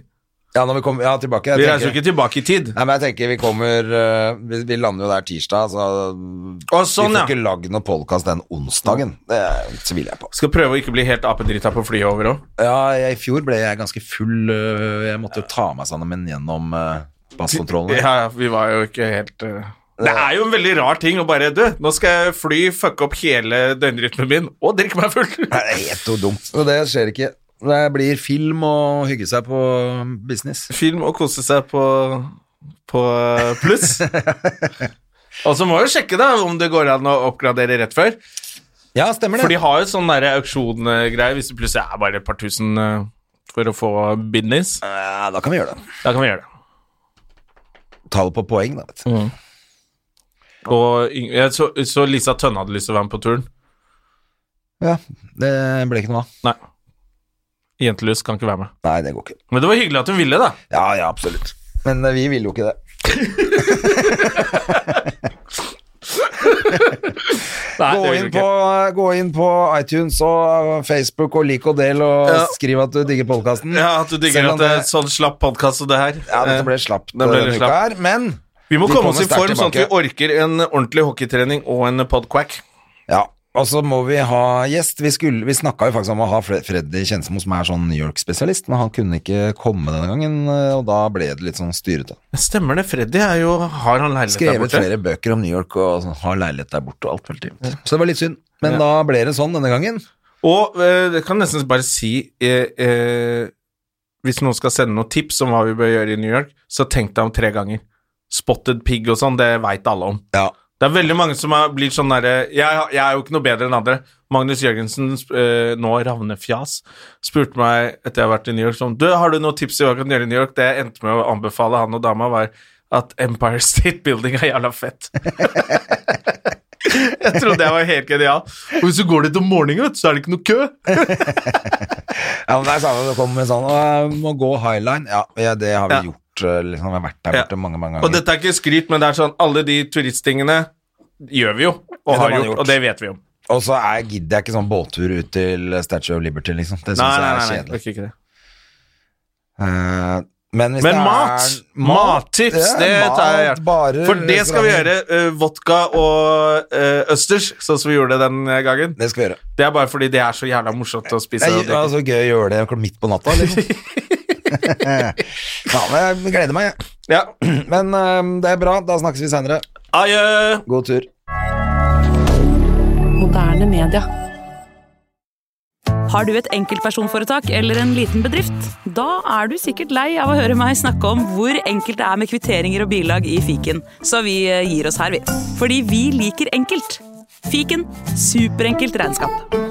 S2: Ja, når vi kommer ja, tilbake jeg
S1: Vi
S2: tenker-
S1: reiser jo ikke tilbake i tid.
S2: Nei, men jeg tenker vi kommer eh, Vi, vi lander jo der tirsdag, så
S1: Å,
S2: vi
S1: sånn,
S2: får
S1: ja.
S2: ikke lagd noen podkast den onsdagen. Det tviler jeg på.
S1: Skal prøve å ikke bli helt apedrita på flyet over òg.
S2: Ja, jeg, i fjor ble jeg ganske full. øh, Jeg måtte jo ta meg sammen gjennom øh, passkontrollen.
S1: Ja, ja, vi var jo ikke helt eh, Det er jo en veldig rar ting å bare Du, nå skal jeg fly, fucke opp hele døgnrytmen min og drikke meg full.
S2: Det er helt og dumt. Og det skjer ikke. Det blir film og hygge seg på business.
S1: film og kose seg på, på eh, pluss. og så må vi sjekke da om det går an å oppgradere rett før.
S2: Ja, stemmer
S1: For de
S2: det.
S1: har jo sånn der auksjongreie hvis det plutselig er bare et par tusen eh, for å få business.
S2: Ja, da kan vi gjøre det.
S1: Da kan vi gjøre det.
S2: Ta det på poeng, da. vet du.
S1: Og Ing- jeg så, så Lisa Tønne hadde lyst til å være med på turen.
S2: Ja, Det ble ikke noe av.
S1: Nei. Jentelus kan ikke være med.
S2: Nei, det går ikke.
S1: Men det var hyggelig at hun ville, da.
S2: Ja, ja, absolutt. Men øh, vi ville jo ikke det.
S1: Nei,
S2: Gå
S1: det vil
S2: inn,
S1: hun
S2: på,
S1: ikke.
S2: gå inn på iTunes og Facebook og lik og del, og
S1: Ja.
S2: skriv at du digger podkasten.
S1: Ja, at du digger
S2: Selv om
S1: at det er
S2: det-
S1: sånn slapp podkast og det her.
S2: Ja, dette ble
S1: Eh,
S2: slapt
S1: det ble litt
S2: denne uka
S1: slapp.
S2: her, men
S1: Vi må
S2: vi
S1: komme
S2: kommer
S1: oss i
S2: sterkt
S1: form, sånn at vi
S2: tilbake.
S1: orker en ordentlig hockeytrening og en podquack.
S2: Ja, og så må vi ha gjest. Vi, skulle, vi snakka jo faktisk om å ha Fre- Freddy Kjensmo, som er sånn New York-spesialist, men han kunne ikke komme denne gangen, eh, og da ble det litt sånn styrete.
S1: Stemmer det. Freddy er jo Har han leilighet der
S2: Skrevet
S1: borte?
S2: flere bøker om New York og sånn, har leilighet der borte og alt mulig. Så det var litt synd, men da ble det sånn denne gangen.
S1: Og eh, det kan nesten bare si eh, eh, Hvis noen skal sende noen tips om hva vi bør gjøre i New York, så tenk deg om tre ganger. Spotted pig og sånn, det veit alle om.
S2: Ja.
S1: Det er veldig mange som er, blir sånn derre jeg, jeg er jo ikke noe bedre enn andre. Magnus Jørgensen, sp- eh, nå Ravnefjas, spurte meg etter jeg har vært i New York sånn Du, har du noen tips i hva jeg kan gjøre i New York? Det jeg endte med å anbefale han og dama, var at Empire State Building er jævla fett. jeg trodde jeg var helt genial. Og hvis du går dit om morgenen, vet du, så er det ikke noe kø.
S2: Ja, men det er samme, det kommer med sånn, «Å, jeg må gå Highline. Ja, ja det har vi
S1: Ja.
S2: gjort, eh, liksom, vi har vært der
S1: Ja.
S2: borte mange, mange
S1: Og
S2: ganger.
S1: dette er ikke skryt, men det er sånn alle de turisttingene gjør vi jo, og
S2: har
S1: har
S2: man
S1: gjort,
S2: gjort.
S1: og det vet vi om.
S2: Og så er- gidder jeg ikke sånn båttur ut til Statue of Liberty, liksom. Det syns
S1: Nei,
S2: jeg
S1: nei,
S2: er
S1: nei, nei,
S2: kjedelig.
S1: orker ikke det.
S2: Eh, Men, hvis
S1: Men
S2: det er-
S1: mat! Mattips,
S2: Ja,
S1: det tar jeg
S2: mat, liksom- barer,
S1: gjerne. For det skal vi gjøre.
S2: restauranter.
S1: eh, vodka og eh, østers, sånn som vi gjorde den gangen.
S2: Det skal vi gjøre.
S1: Det er bare fordi det er så jævla morsomt å spise.
S2: Det
S1: og
S2: er
S1: drikke.
S2: altså, gøy å gjøre det klok- midt på natta, liksom. ja, men jeg gleder meg, jeg.
S1: Ja.
S2: Men eh, det er bra. Da snakkes vi seinere.
S1: Adjø!
S2: God tur.
S3: Moderne media. Har du et enkeltpersonforetak eller en liten bedrift? Da er du sikkert lei av å høre meg snakke om hvor enkelt det er med kvitteringer og bilag i fiken, så vi eh, gir oss her, vi. Fordi vi liker enkelt. Fiken superenkelt regnskap.